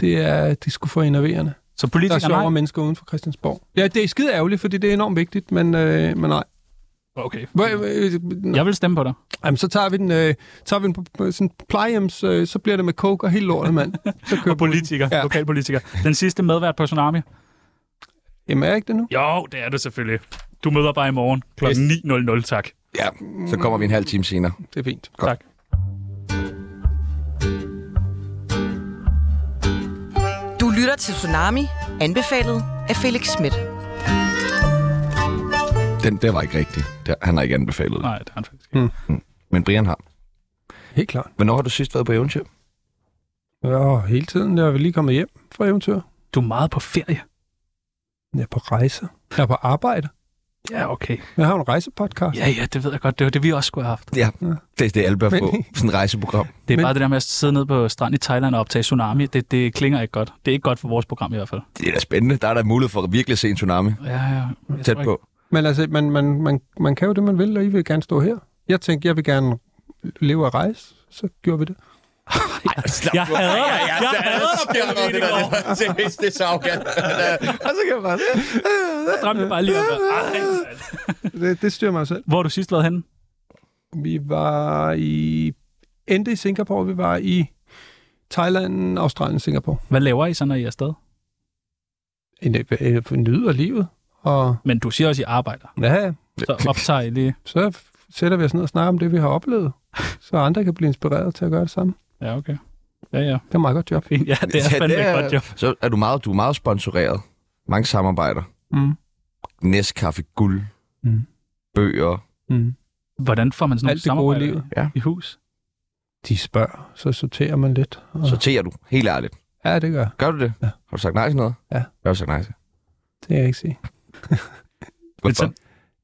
S4: Det er, det skulle få enerverende.
S1: Så
S4: Der er
S1: politiker,
S4: sjovere
S1: nej.
S4: mennesker uden for Christiansborg. Ja, det er skide ærgerligt, fordi det er enormt vigtigt, men, øh, men nej.
S1: Okay.
S4: Hvor- øh,
S1: Jeg vil stemme på dig.
S4: Jamen, så tager vi den, øh, tager vi den på, på sådan plejehjems, øh, så bliver det med coke og helt lortet, mand. Så kører
S1: Og politiker.
S4: Ja.
S1: Lokalpolitiker. Den sidste medvært på Tsunami.
S4: Jamen, er jeg ikke det nu?
S1: Jo, det er du selvfølgelig. Du møder bare i morgen kl. 9.00, tak.
S2: Ja, så kommer vi en halv time senere.
S4: Det er fint.
S2: Godt.
S1: Tak.
S5: Du lytter til Tsunami, anbefalet af Felix Schmidt.
S2: Den der var ikke rigtig. Der, han har ikke anbefalet det.
S1: Nej, det er han faktisk ikke.
S4: Mm.
S2: Men Brian har.
S4: Helt klart.
S2: Hvornår har du sidst været på eventyr?
S4: Ja, hele tiden. Jeg er lige kommet hjem fra eventyr.
S1: Du er meget på ferie.
S4: Jeg er på rejser. Jeg er på arbejde.
S1: Ja, okay.
S4: Jeg har jo en rejsepodcast.
S1: Ja, ja, det ved jeg godt. Det var det, vi også skulle have haft.
S2: Ja, det er det, alle bør få. Sådan et rejseprogram.
S1: Det er
S4: Men-
S1: Men... bare det der med at sidde ned på stranden i Thailand og optage tsunami. Det, det klinger ikke godt. Det er ikke godt for vores program i hvert fald.
S2: Det er da spændende. Der er der mulighed for at virkelig se en tsunami
S1: Ja, ja. Jeg
S2: tæt
S1: tror ikke-
S2: på.
S4: Men altså, man, man, man, man kan jo det, man vil, og I vil gerne stå her. Jeg tænkte, jeg vil gerne leve og rejse. Så gjorde vi det.
S1: Jeg hader dig. Jeg hader dig, Peter Venegård.
S2: Det er så Og så kan jeg bare...
S1: Jeg drømte bare lige om det. Ej, mand.
S4: Det, det styrer mig selv.
S1: Hvor har du sidst været henne?
S4: Vi var i... Endte i Singapore, vi var i Thailand, Australien, Singapore.
S1: Hvad laver I så, når I er afsted?
S4: En, en, en, nyder livet. Og
S1: Men du siger også, I arbejder.
S4: ja,
S1: Så optager I lige.
S4: så sætter vi os ned og snakker om det, vi har oplevet. Så andre kan blive inspireret til at gøre det samme.
S1: Ja, okay. Ja, ja.
S4: Det er et meget godt job.
S1: Fint. Ja, det er fandme et godt job.
S2: Så er du meget, du er meget sponsoreret. Mange samarbejder.
S4: Mm.
S2: Næstkaffe, guld,
S4: Mm.
S2: bøger.
S4: Mm.
S1: Hvordan får man sådan nogle
S4: Alt det gode i
S1: samarbejder
S4: livet.
S1: i hus?
S4: De spørger, så sorterer man lidt. Og...
S2: Sorterer du, helt ærligt.
S4: Ja, det gør.
S2: Gør du det?
S4: Ja.
S2: Har du sagt nej til noget?
S4: Ja.
S2: Hvad har du sagt nej til?
S4: Det kan jeg ikke sige.
S1: Men
S2: Hvorfor?
S1: så-
S2: Var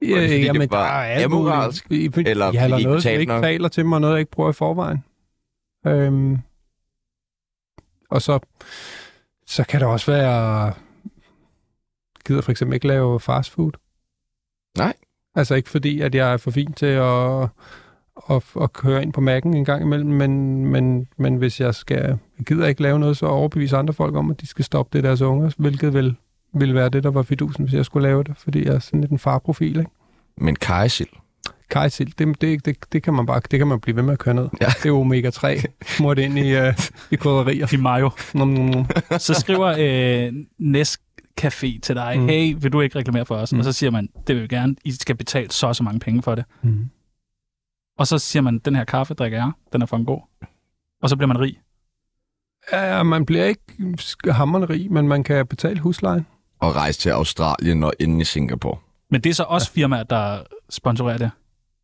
S2: det, fordi det
S4: men
S2: var
S4: der er alt
S2: amoralsk?
S4: muligt. I-
S2: Eller
S4: ja,
S2: fordi
S4: eller
S2: I ikke
S4: noget, som
S2: betalte
S4: ikke
S2: nok?
S4: taler til mig, noget, jeg ikke bruger i forvejen. Øhm, og så, så kan der også være... Gider for eksempel ikke lave fast food.
S2: Nej.
S4: Altså ikke fordi, at jeg er for fin til at, at, at køre ind på Mac'en en gang imellem, men, men, men hvis jeg skal, jeg gider ikke lave noget, så overbevise andre folk om, at de skal stoppe det i deres unger, hvilket vel ville være det, der var fidusen, hvis jeg skulle lave det, fordi jeg er sådan lidt en farprofil, ikke?
S2: Men kajsild.
S4: Kajsild, det, det, det, det, kan man bare det kan man blive ved med at køre ned.
S2: Ja.
S4: Ja. Det er omega 3, smurt ind i, øh, i krydderier.
S1: I mayo.
S4: Nom, nom, nom.
S1: Så skriver øh, Næsk Café til dig,
S4: Mm.
S1: mm. hey, vil du ikke reklamere for os? Mm.
S4: Mm.
S1: Og så siger man, det vil vi gerne, I skal betale så og så mange penge for det.
S4: Mm.
S1: Og så siger man, den her kaffe drikker jeg, den er for en god. Og så bliver man rig.
S4: Ja, man bliver ikke sk- hammerende rig, men man kan betale huslejen.
S2: Og rejse til Australien og inde i Singapore.
S1: Men det er så også firmaer, der sponsorerer det.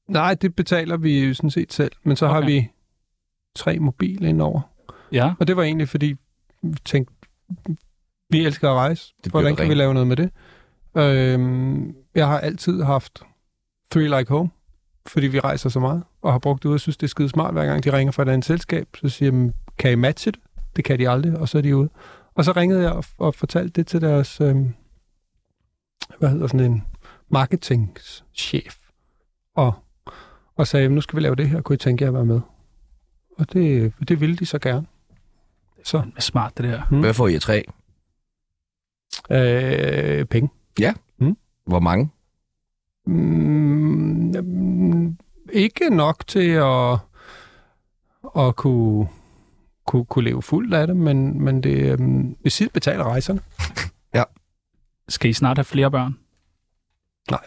S4: Nej, det betaler vi sådan set selv, men så okay. har
S1: Okay.
S4: vi tre mobil indover.
S1: Ja,
S4: Og det var egentlig, fordi vi tænkte, vi elsker at rejse.
S2: Det bliver
S4: Hvordan
S2: det
S4: kan vi
S2: rent.
S4: lave noget med det? Øhm, jeg har altid haft Three Like Home, fordi vi rejser så meget, og har brugt det ud og synes, det er skide smart, hver gang de ringer fra et andet selskab. Så siger de, kan I matche det? Det kan de aldrig, og så er de ude. Og så ringede jeg og, og fortalte det til deres, øhm, hvad hedder sådan en, marketingchef, og, og sagde, nu skal vi lave det her, kunne I tænke jer at være med? Og det, det ville de så gerne. Så
S1: det er smart det der.
S4: Mm.
S2: Hvad får I af tre?
S4: Øh, penge.
S2: Hvor mange?
S4: Mm, mm, ikke nok til at, at kunne, kunne, kunne leve fuldt af det, men, men det, øhm, vi selv betaler rejserne.
S1: Skal I snart have flere børn?
S4: Nej.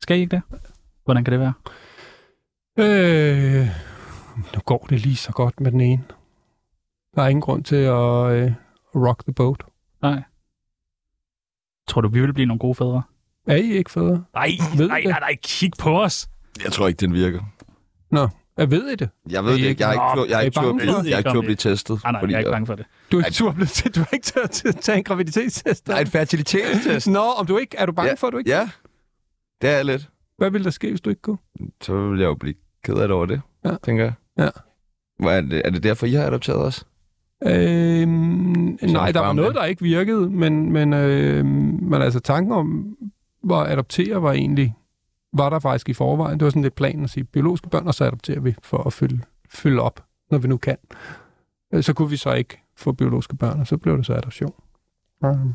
S1: Skal I ikke det? Hvordan kan det være?
S4: Øh, nu går det lige så godt med den ene. Der er ingen grund til at øh, rock the boat.
S1: Nej. Tror du, vi vil blive nogle gode fædre?
S4: Er I ikke federe?
S1: Nej,
S4: Ved
S1: nej,
S4: det.
S1: nej, nej, kig på os.
S2: Jeg tror ikke, den virker.
S4: Jeg ved I det?
S2: Jeg ved det ikke. Jeg har ikke
S1: Nå,
S2: tur, jeg har
S4: er I
S2: ikke tur,
S4: bange
S1: for det?
S2: jeg har ikke tur at blive testet.
S1: Ah, Nej, nej, jeg er ikke bange for det.
S4: Du er ikke tur blevet til, du er ikke til at t- tage en graviditetstest.
S2: Der er en fertilitetstest.
S4: Nå, om du ikke, er du bange for, at du ikke?
S2: Ja, det er jeg lidt.
S4: Hvad ville der ske, hvis du ikke kunne?
S2: Så vil jeg jo blive ked af det over det,
S4: Ja.
S2: tænker jeg.
S4: Ja.
S2: Hvor Er det, er det derfor, I har adopteret os?
S4: Øhm,
S2: Så
S4: nej, der
S2: spørger
S4: var
S2: om
S4: noget,
S2: det.
S4: der ikke virkede, men, men, øh, men altså tanken om at adoptere var egentlig, var der faktisk i forvejen. Det var sådan lidt planen at sige, biologiske børn, og så adopterer vi for at fylde, fylde op, når vi nu kan. Øh, Så kunne vi så ikke få biologiske børn, og så blev det så adoption. Mm.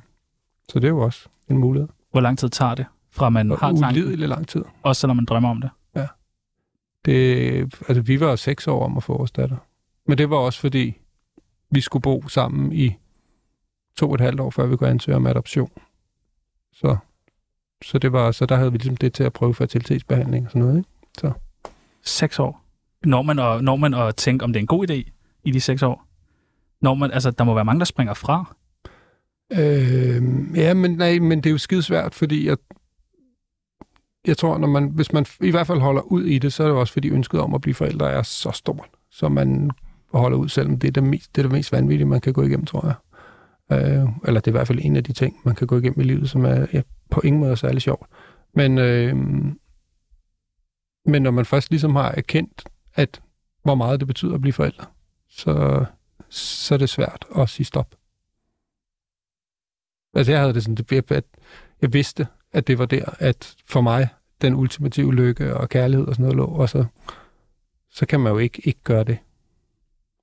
S4: Så det er jo også en mulighed.
S1: Hvor lang tid tager det, fra man har
S4: Og
S1: tanken,
S4: ulideligt lang tid.
S1: også selvom man drømmer om det?
S4: Det, altså, vi var jo seks år om at få vores datter. Men det var også fordi, vi skulle bo sammen i to og et halvt år, før vi kunne ansøge om adoption. Så, så, det var, så der havde vi ligesom det til at prøve fertilitetsbehandling og sådan noget. Ikke?
S1: Seks år. Når man, og, når man og tænke, om det er en god idé i de seks år? Når man, altså, der må være mange, der springer fra.
S4: Øh, ja, men, nej, men det er jo skidesvært, fordi jeg, jeg tror, når man, hvis man i hvert fald holder ud i det, så er det jo også fordi ønsket om at blive forældre er så stort, så man holder ud, selvom det er det mest, det, er det mest vanvittige, man kan gå igennem, tror jeg. Øh, eller det er i hvert fald en af de ting, man kan gå igennem i livet, som er ja, på ingen måde særlig sjovt. Men, øh, men når man først ligesom har erkendt, at hvor meget det betyder at blive forældre, så, så er det svært at sige stop. Altså jeg havde det sådan, det blev, at jeg vidste, at det var der, at for mig, den ultimative lykke og kærlighed og sådan noget lå, og så, så kan man jo ikke, ikke gøre det.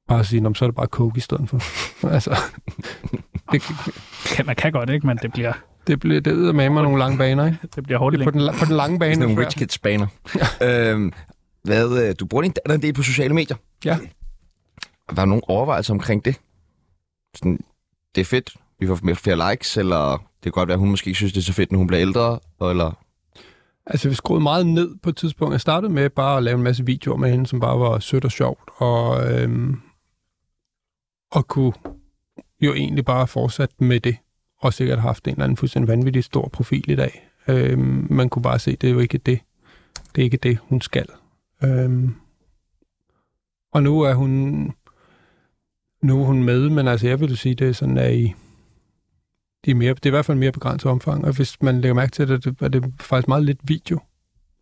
S4: Bare sige, "Nå, men så er det bare coke i stedet for. altså, det,
S1: Kan, man kan godt, ikke? Men det bliver,
S4: det, bliver, det er med mig nogle lange baner, ikke?
S1: det bliver hårdt
S4: Det er på
S1: længe.
S4: den, la- på den lange bane.
S2: Sådan nogle
S4: svært.
S2: rich kids baner. øhm, hvad, øh, du bruger din datter en del på sociale medier.
S4: Ja.
S2: Var der nogle overvejelser omkring det? Sådan, det er fedt, vi får mere- flere likes, eller det kan godt være, at hun måske ikke synes, det er så fedt, når hun bliver ældre, eller...
S4: Altså, vi skruede meget ned på et tidspunkt. Jeg startede med bare at lave en masse videoer med hende, som bare var sødt og sjovt, og, øhm, og kunne jo egentlig bare fortsætte med det, og sikkert have haft en eller anden fuldstændig vanvittig stor profil i dag. Øhm, man kunne bare se, det er jo ikke det. Det er ikke det, hun skal. Øhm, og nu er hun nu er hun med, men altså, jeg vil jo sige, det er sådan, at i de er mere, det er i hvert fald mere begrænset omfang, og hvis man lægger mærke til det, det er det faktisk meget lidt video.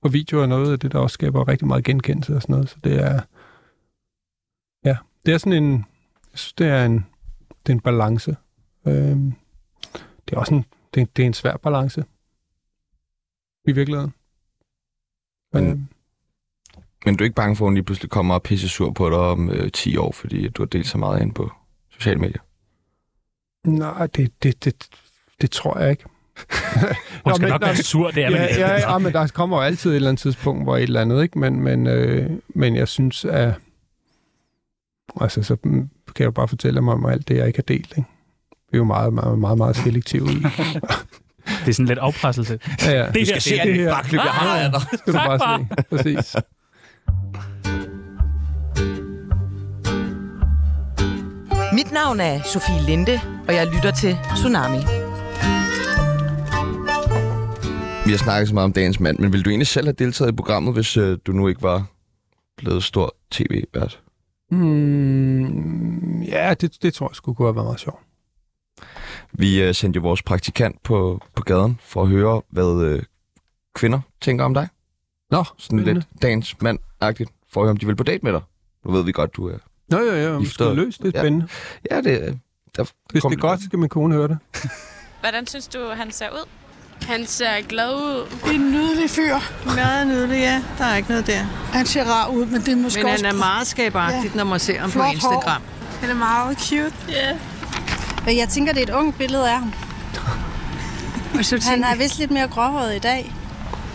S4: Og video er noget af det, der også skaber rigtig meget genkendelse og sådan noget, så det er, ja, det er sådan en, jeg synes, det er en, det er en balance. Øhm, det er også en, det er, det er en svær balance. I virkeligheden. Øhm, Men,
S2: Mm. Men du er ikke bange for, at hun lige pludselig kommer og pisse sur på dig om øh, 10 år, fordi du har delt så meget ind på sociale medier?
S4: nej, det, det, det, det tror jeg ikke.
S1: Hun skal
S4: men-
S1: nok
S4: nå,
S1: være sur, det er man
S4: ja,
S1: ikke.
S4: ja, ja, men der kommer jo altid et eller andet tidspunkt, hvor et eller andet, ikke? Men, men, øh, men jeg synes, at... Altså, så mm, kan jeg jo bare fortælle mig om alt det, jeg ikke har delt, ikke? Vi er jo meget, meget, meget, meget selektive i.
S1: Det er sådan lidt afpresselse.
S4: Ja, ja.
S1: Det her, det er det.
S4: her.
S2: bakløb, jeg har af dig.
S4: skal du
S1: Tak,
S4: bare se. Præcis.
S5: Mit navn er Sofie Linde, og jeg lytter til Tsunami.
S2: Vi har snakket så meget om dagens mand, men ville du egentlig selv have deltaget i programmet, hvis øh, du nu ikke var blevet stor tv-vært?
S4: Mm, ja, det, det tror jeg skulle kunne have været meget sjovt.
S2: Vi øh, sendte jo vores praktikant på, på gaden for at høre, hvad øh, kvinder tænker om dig.
S4: Nå,
S2: Sådan
S4: spændende.
S2: lidt dagens mand-agtigt, for at høre, om de vil på date med dig. Nu ved vi godt, du er...
S4: Nå, ja, ja, vi
S2: Gifter-
S4: skal løse det.
S2: Ja.
S4: er Spændende.
S2: Ja, det er... Der,
S4: Hvis
S2: kom-
S4: det er godt, skal min kone høre det.
S6: Hvordan synes du, han ser ud?
S7: Han ser glad ud.
S8: Det er en nydelig fyr. Meget nydelig, ja. Der er ikke noget der. Han ser rar ud, men det er måske
S9: Men
S8: også...
S9: han er meget skabagtigt, ja. når man ser ham på
S8: Flot hår.
S9: Instagram.
S7: Han er meget cute.
S10: Øh, Jeg tænker, det er et ungt billede af ham.
S7: Og så
S10: Han
S7: tænker
S10: er vist lidt mere gråhåret i dag.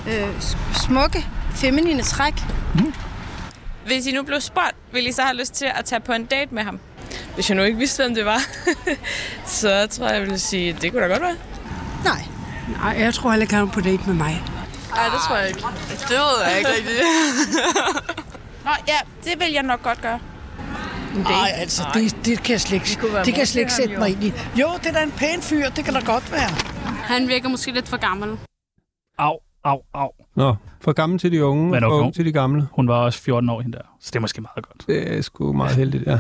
S10: Øh, s- smukke, feminine træk.
S6: Hvis I nu blev spurgt, ville I så have lyst til at tage på en date med ham?
S7: Hvis jeg nu ikke vidste, hvem det var, så tror jeg, jeg ville sige, det kunne da godt være.
S10: Nej.
S8: Nej, jeg tror heller ikke, han er på date med mig.
S7: Nej, det tror jeg ikke. Det ved jeg ikke rigtigt.
S6: Nå ja, det vil jeg nok godt gøre.
S8: Nej, altså, det, det kan jeg slet ikke, det kan jeg slet ikke sætte mig ind i. Jo, det er da en pæn fyr, det kan da godt være.
S9: Han virker måske lidt for gammel.
S1: Au, au, au.
S4: Nå, fra gamle til de unge,
S1: Men
S4: og
S1: okay.
S4: unge til de gamle.
S1: Hun var også 14 år hende der, så det er måske meget godt.
S4: Det er sgu meget heldigt, ja.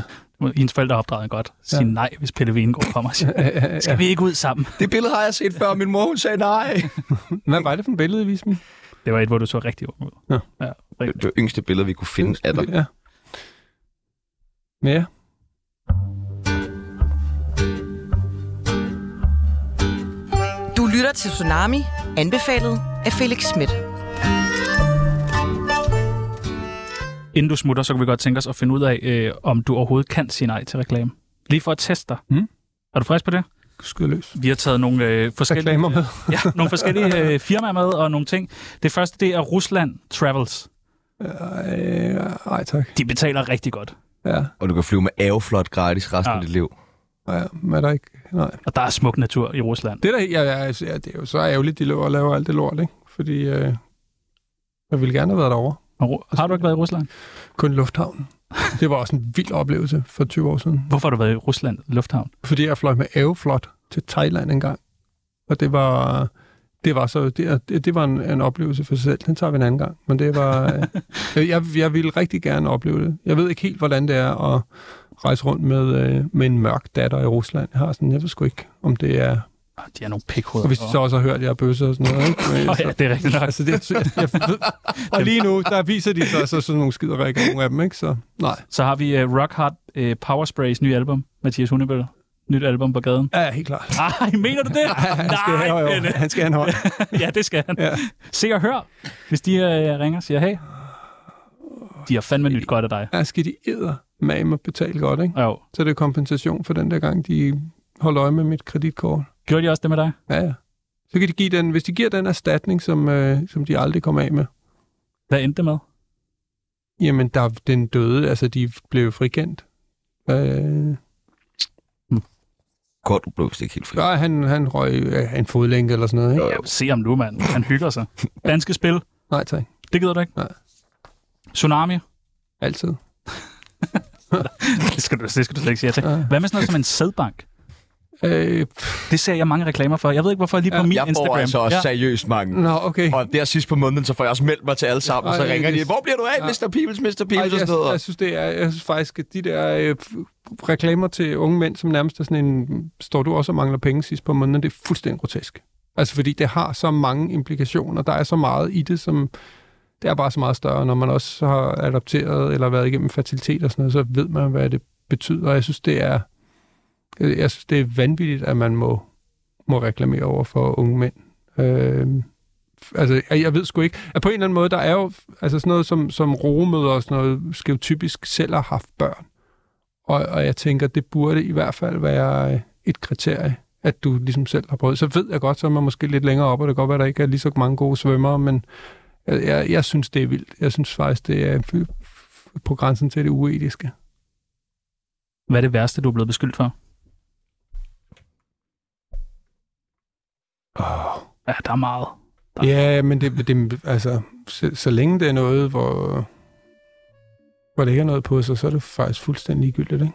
S1: Hendes forældre har opdraget hende godt. Sige
S4: Ja.
S1: nej, hvis Pelle Venegård kommer og siger,
S4: Ja, ja, ja.
S1: skal vi ikke ud sammen?
S2: Det billede har jeg set før, min mor hun sagde nej.
S4: Hvad var det for en billede, vis mig?
S1: Det var et, hvor du så rigtig ung ud.
S4: Ja.
S1: ja
S2: Det
S1: rigtig.
S2: var det yngste billede, vi kunne finde af dig.
S4: Ja. Ja.
S5: Du lytter til Tsunami, anbefalet af Felix Schmidt.
S1: Inden du smutter, så kan vi godt tænke os at finde ud af, øh, om du overhovedet kan sige nej til reklame. Lige for at teste dig.
S4: Mm.
S1: Er du frisk på det?
S4: Skyd løs.
S1: Vi har taget nogle, øh, forskellige,
S4: Reklamer med.
S1: ja, nogle forskellige øh, firmaer med og nogle ting. Det første, det er Rusland Travels.
S4: Øh, Ej, tak.
S1: De betaler rigtig godt.
S4: Ja,
S2: Og du kan flyve med aveflot gratis resten
S1: Ja.
S2: af dit liv.
S4: ja, men er der ikke... Nej.
S1: Og der er smuk natur i Rusland.
S4: Det, der, ja, ja, altså, ja, det er jo så ærgerligt, de løber og laver alt det lort, ikke? Fordi øh, jeg ville gerne have været derovre.
S1: Og Ru- Har du ikke været i Rusland?
S4: Kun lufthavnen. Det var også en vild oplevelse for 20 år siden.
S1: Hvorfor har du været i Rusland Lufthavn?
S4: Fordi jeg fløj med Aveflot til Thailand en gang. Og det var... Det var, så, det, det- det var en, en oplevelse for sig selv. Den tager vi en anden gang. Men det var... øh, jeg, jeg ville rigtig gerne opleve det. Jeg ved ikke helt, hvordan det er at rejse rundt med, øh, med en mørk datter i Rusland. Jeg har sådan... Jeg ved sgu ikke, om det er
S1: Ah, De er nogle pikhoveder.
S4: Og hvis de så også har hørt, at jeg er bøsse og sådan noget. Ikke? Men,
S1: Åh, ja, det er rigtigt nok.
S4: Altså, det, jeg, jeg ved. Og lige nu, der viser de sig så sådan nogle skiderikker, nogle af dem, ikke? Så nej,
S1: Så har vi uh, Rock Hard uh, Power Sprays nye album, Mathias Hundebøl. Nyt album på gaden.
S4: ja, helt klart.
S1: Ej, mener du det?
S4: Han skal,
S1: Nej,
S4: have, jo,
S1: Pelle.
S4: han skal have en hånd.
S1: ja, det skal han.
S4: Ja.
S1: Se og hør, hvis de uh, ringer og siger, hey, de har fandme nyt godt af dig.
S4: Ja, skal de æder med mig betale godt, ikke?
S1: Jo.
S4: Så det er kompensation for den der gang, de holder øje med mit kreditkort.
S1: Gjorde de også det med dig?
S4: Ja, ja. Så kan de give den, hvis de giver den erstatning, som, øh, som de aldrig kom af med,
S1: Hvad endte det med?
S4: jamen der er den døde, altså de blev frikendt. Øh,
S2: Kort, du blev vist ikke helt fri.
S4: ja, han, han røg øh, en fodlænke eller sådan noget, ikke?
S1: Jamen, se ham nu, mand. Han hygger sig. Danske spil,
S4: Nej, tak.
S1: det gider du ikke?
S4: Nej.
S1: Tsunami,
S4: Altid.
S1: det skal, du, det skal du slet ikke sige ja til.
S4: Ja.
S1: Hvad med sådan noget som en sædbank?
S4: Øh, pff,
S1: Det ser jeg mange reklamer for. Jeg ved ikke, hvorfor lige på min
S2: jeg får
S1: Instagram.
S2: altså også ja. seriøst mange.
S4: nå, okay.
S2: Og der sidst på måneden, så får jeg også meldt mig til alle sammen, og så
S4: Ej,
S2: ringer de,
S4: det-
S2: hvor bliver du af, Mr. Peoples, Mr.
S4: Ej,
S2: Peoples, og sådan
S4: jeg, jeg,
S2: noget.
S4: synes, det er, jeg synes faktisk, at de der øh, f- reklamer til unge mænd, som nærmest er sådan en, står du også og mangler penge sidst på måneden, det er fuldstændig grotesk. Altså, fordi det har så mange implikationer, der er så meget i det, som det er bare så meget større, når man også har adopteret eller været igennem fertilitet og sådan noget, så ved man, hvad det betyder. Og jeg synes, det er, jeg jeg synes, det er vanvittigt, at man må, må reklamere over for unge mænd. Øh, altså, jeg, jeg ved sgu ikke. At på en eller anden måde, der er jo altså sådan noget som, som rogemøder og sådan noget, skal jo typisk selv have haft børn. Og, og jeg tænker, det burde i hvert fald være øh, et kriterie, at du ligesom selv har prøvet. Så ved jeg godt, så er man måske lidt længere op, og det kan godt være, at der ikke er lige så mange gode svømmere, men jeg, jeg, jeg synes, det er vildt. Jeg synes faktisk, det er f- f- på grænsen til det uetiske.
S1: Hvad er det værste, du er blevet beskyldt for?
S4: Oh.
S1: Ja, der er meget.
S4: Ja, men det, det altså, så, så længe det er noget, hvor, hvor det ikke er noget på sig, så er det faktisk fuldstændig ligegyldigt, ikke?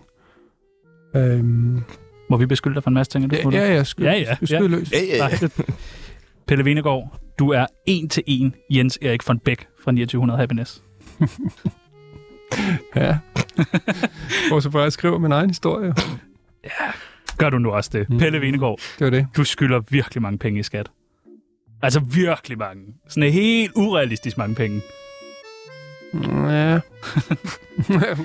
S4: Øhm,
S1: Må vi beskylde dig for en masse ting? er Du
S4: ja,
S1: smutter?
S4: ja, ja, skyd,
S1: Ja, ja,
S4: skyd
S1: ja.
S4: løs.
S2: Ja, ja,
S1: Nej,
S2: ja.
S4: Øh.
S1: det... Pelle Venegård, du er en til en Jens Erik von Bæk fra 2900 Happiness.
S4: Ja. Hvor så bare jeg skriver min egen historie.
S1: Gør du nu også det? Mm. Pelle Venegård,
S4: Det var det.
S1: du skylder virkelig mange penge i skat. Altså virkelig mange. Sådan en helt urealistisk mange penge.
S4: Ja.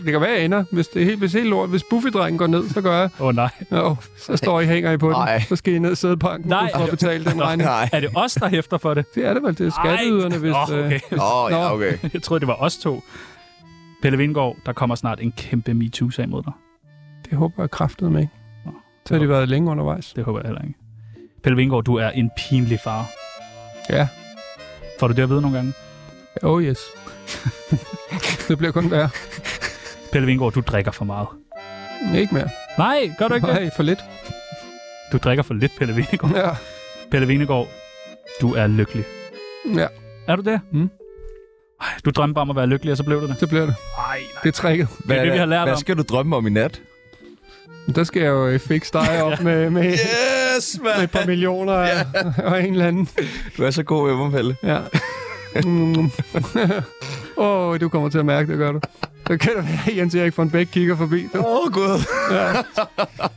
S4: det kan være, jeg ender. Hvis det er helt, hvis helt lort, hvis Buffy-drengen går ned, så gør jeg.
S1: Åh oh, nej.
S4: Jo, så står I hænger I på den.
S2: Nej.
S4: Så skal I ned i sædebanken
S1: Nej.
S4: for at betale den regning.
S2: Nej.
S1: Er det os, der hæfter for det?
S4: Det er det vel, det er skatteyderne, hvis...
S1: Åh,
S4: øh,
S1: okay.
S2: Åh, ja,
S4: Nå.
S2: okay.
S1: Jeg troede, det var os to. Pelle Vingård, der kommer snart en kæmpe MeToo-sag mod dig.
S4: Det håber jeg kraftet med, ikke?
S1: Nå.
S4: Så har de været længe undervejs.
S1: Det håber jeg heller ikke. Pelle Vingård, du er en pinlig far.
S4: Ja.
S1: Får du det at vide nogle gange?
S4: Oh yes. det bliver kun værre.
S1: Pelle Vingård, du drikker for meget.
S4: Ikke mere.
S1: Nej, gør du ikke det?
S4: Nej, for lidt.
S1: Du drikker for lidt, Pelle Vingård.
S4: Ja.
S1: Pelle Venegård, du er lykkelig.
S4: ja,
S1: Er du det?
S4: Mm.
S1: Ej, du drømte om at være lykkelig, og så blev du det.
S4: så bliver det.
S1: Nej, nej.
S4: Det er tricket.
S1: det, vi har lært
S2: hvad
S1: om.
S2: skal du drømme om i nat?
S4: Men Der skal jeg jo øh, fikse dig op med, med,
S2: Yes,
S4: med et par millioner ja. og en eller anden.
S2: Du er så god, Ømmerpelle.
S4: Ja. Mm. Åh, oh, du kommer til at mærke det, gør du. Så kan det være, at Jens Erik von Bæk kigger forbi. Du.
S2: Åh, oh, gud.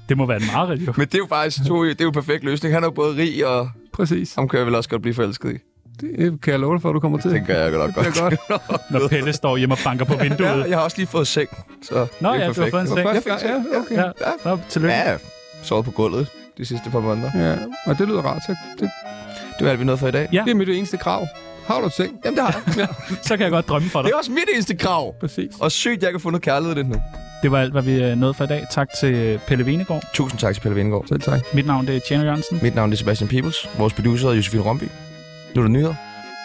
S1: Det må være en mareridt, jo.
S2: Men det er jo faktisk to, det er jo en perfekt løsning. Han er jo både rig, og
S4: Præcis.
S2: ham kan jeg vel også godt blive forelsket i.
S4: Det kan jeg love dig for, at du kommer til.
S2: Det gør jeg godt
S4: Det bliver
S2: godt.
S4: godt.
S1: Når Pelle står hjemme og banker på vinduet.
S2: Ja, jeg har også lige fået seng, så
S1: Nå
S2: det
S1: ja, du
S2: er
S1: har
S2: perfekt.
S1: fået en seng.
S4: Første gang, ja, okay.
S1: Ja, Nå, tillykke.
S2: Ja, sovet på gulvet de sidste par måneder.
S4: Ja, og det lyder rart. Så det,
S2: Det var alt, vi nåede for i dag.
S1: Ja.
S4: det er mit eneste krav. Har du et seng?
S2: Jamen, det har jeg.
S1: Så kan jeg godt drømme for
S2: Det
S1: dig.
S2: er også mit eneste krav.
S4: Præcis.
S2: Og sygt, jeg kan få noget kærlighed i det nu.
S1: Det var alt, hvad vi øh, nåede for i dag. Tak til øh, Pelle Venegård.
S2: Tusind tak til Pelle Vindgaard.
S4: Selv tak.
S1: Mit navn det er Tjerno Jørgensen,
S2: Mit navn er Sebastian Peebles. Vores producer er Josefine Romby. Nu er der nyheder.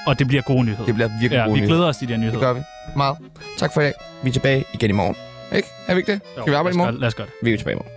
S1: og det bliver gode nyheder.
S2: Det bliver virkelig
S1: ja,
S2: gode
S1: vi
S2: nyheder.
S1: glæder os til de her nyheder.
S2: Det gør vi. Meget. Tak for i dag. Vi er tilbage igen i morgen. Ikke? Er vi ikke det?
S1: Jo,
S2: Skal vi arbejde
S1: lad os
S2: i morgen?
S1: gøre- Lad os gøre det.
S2: Vi er tilbage i morgen.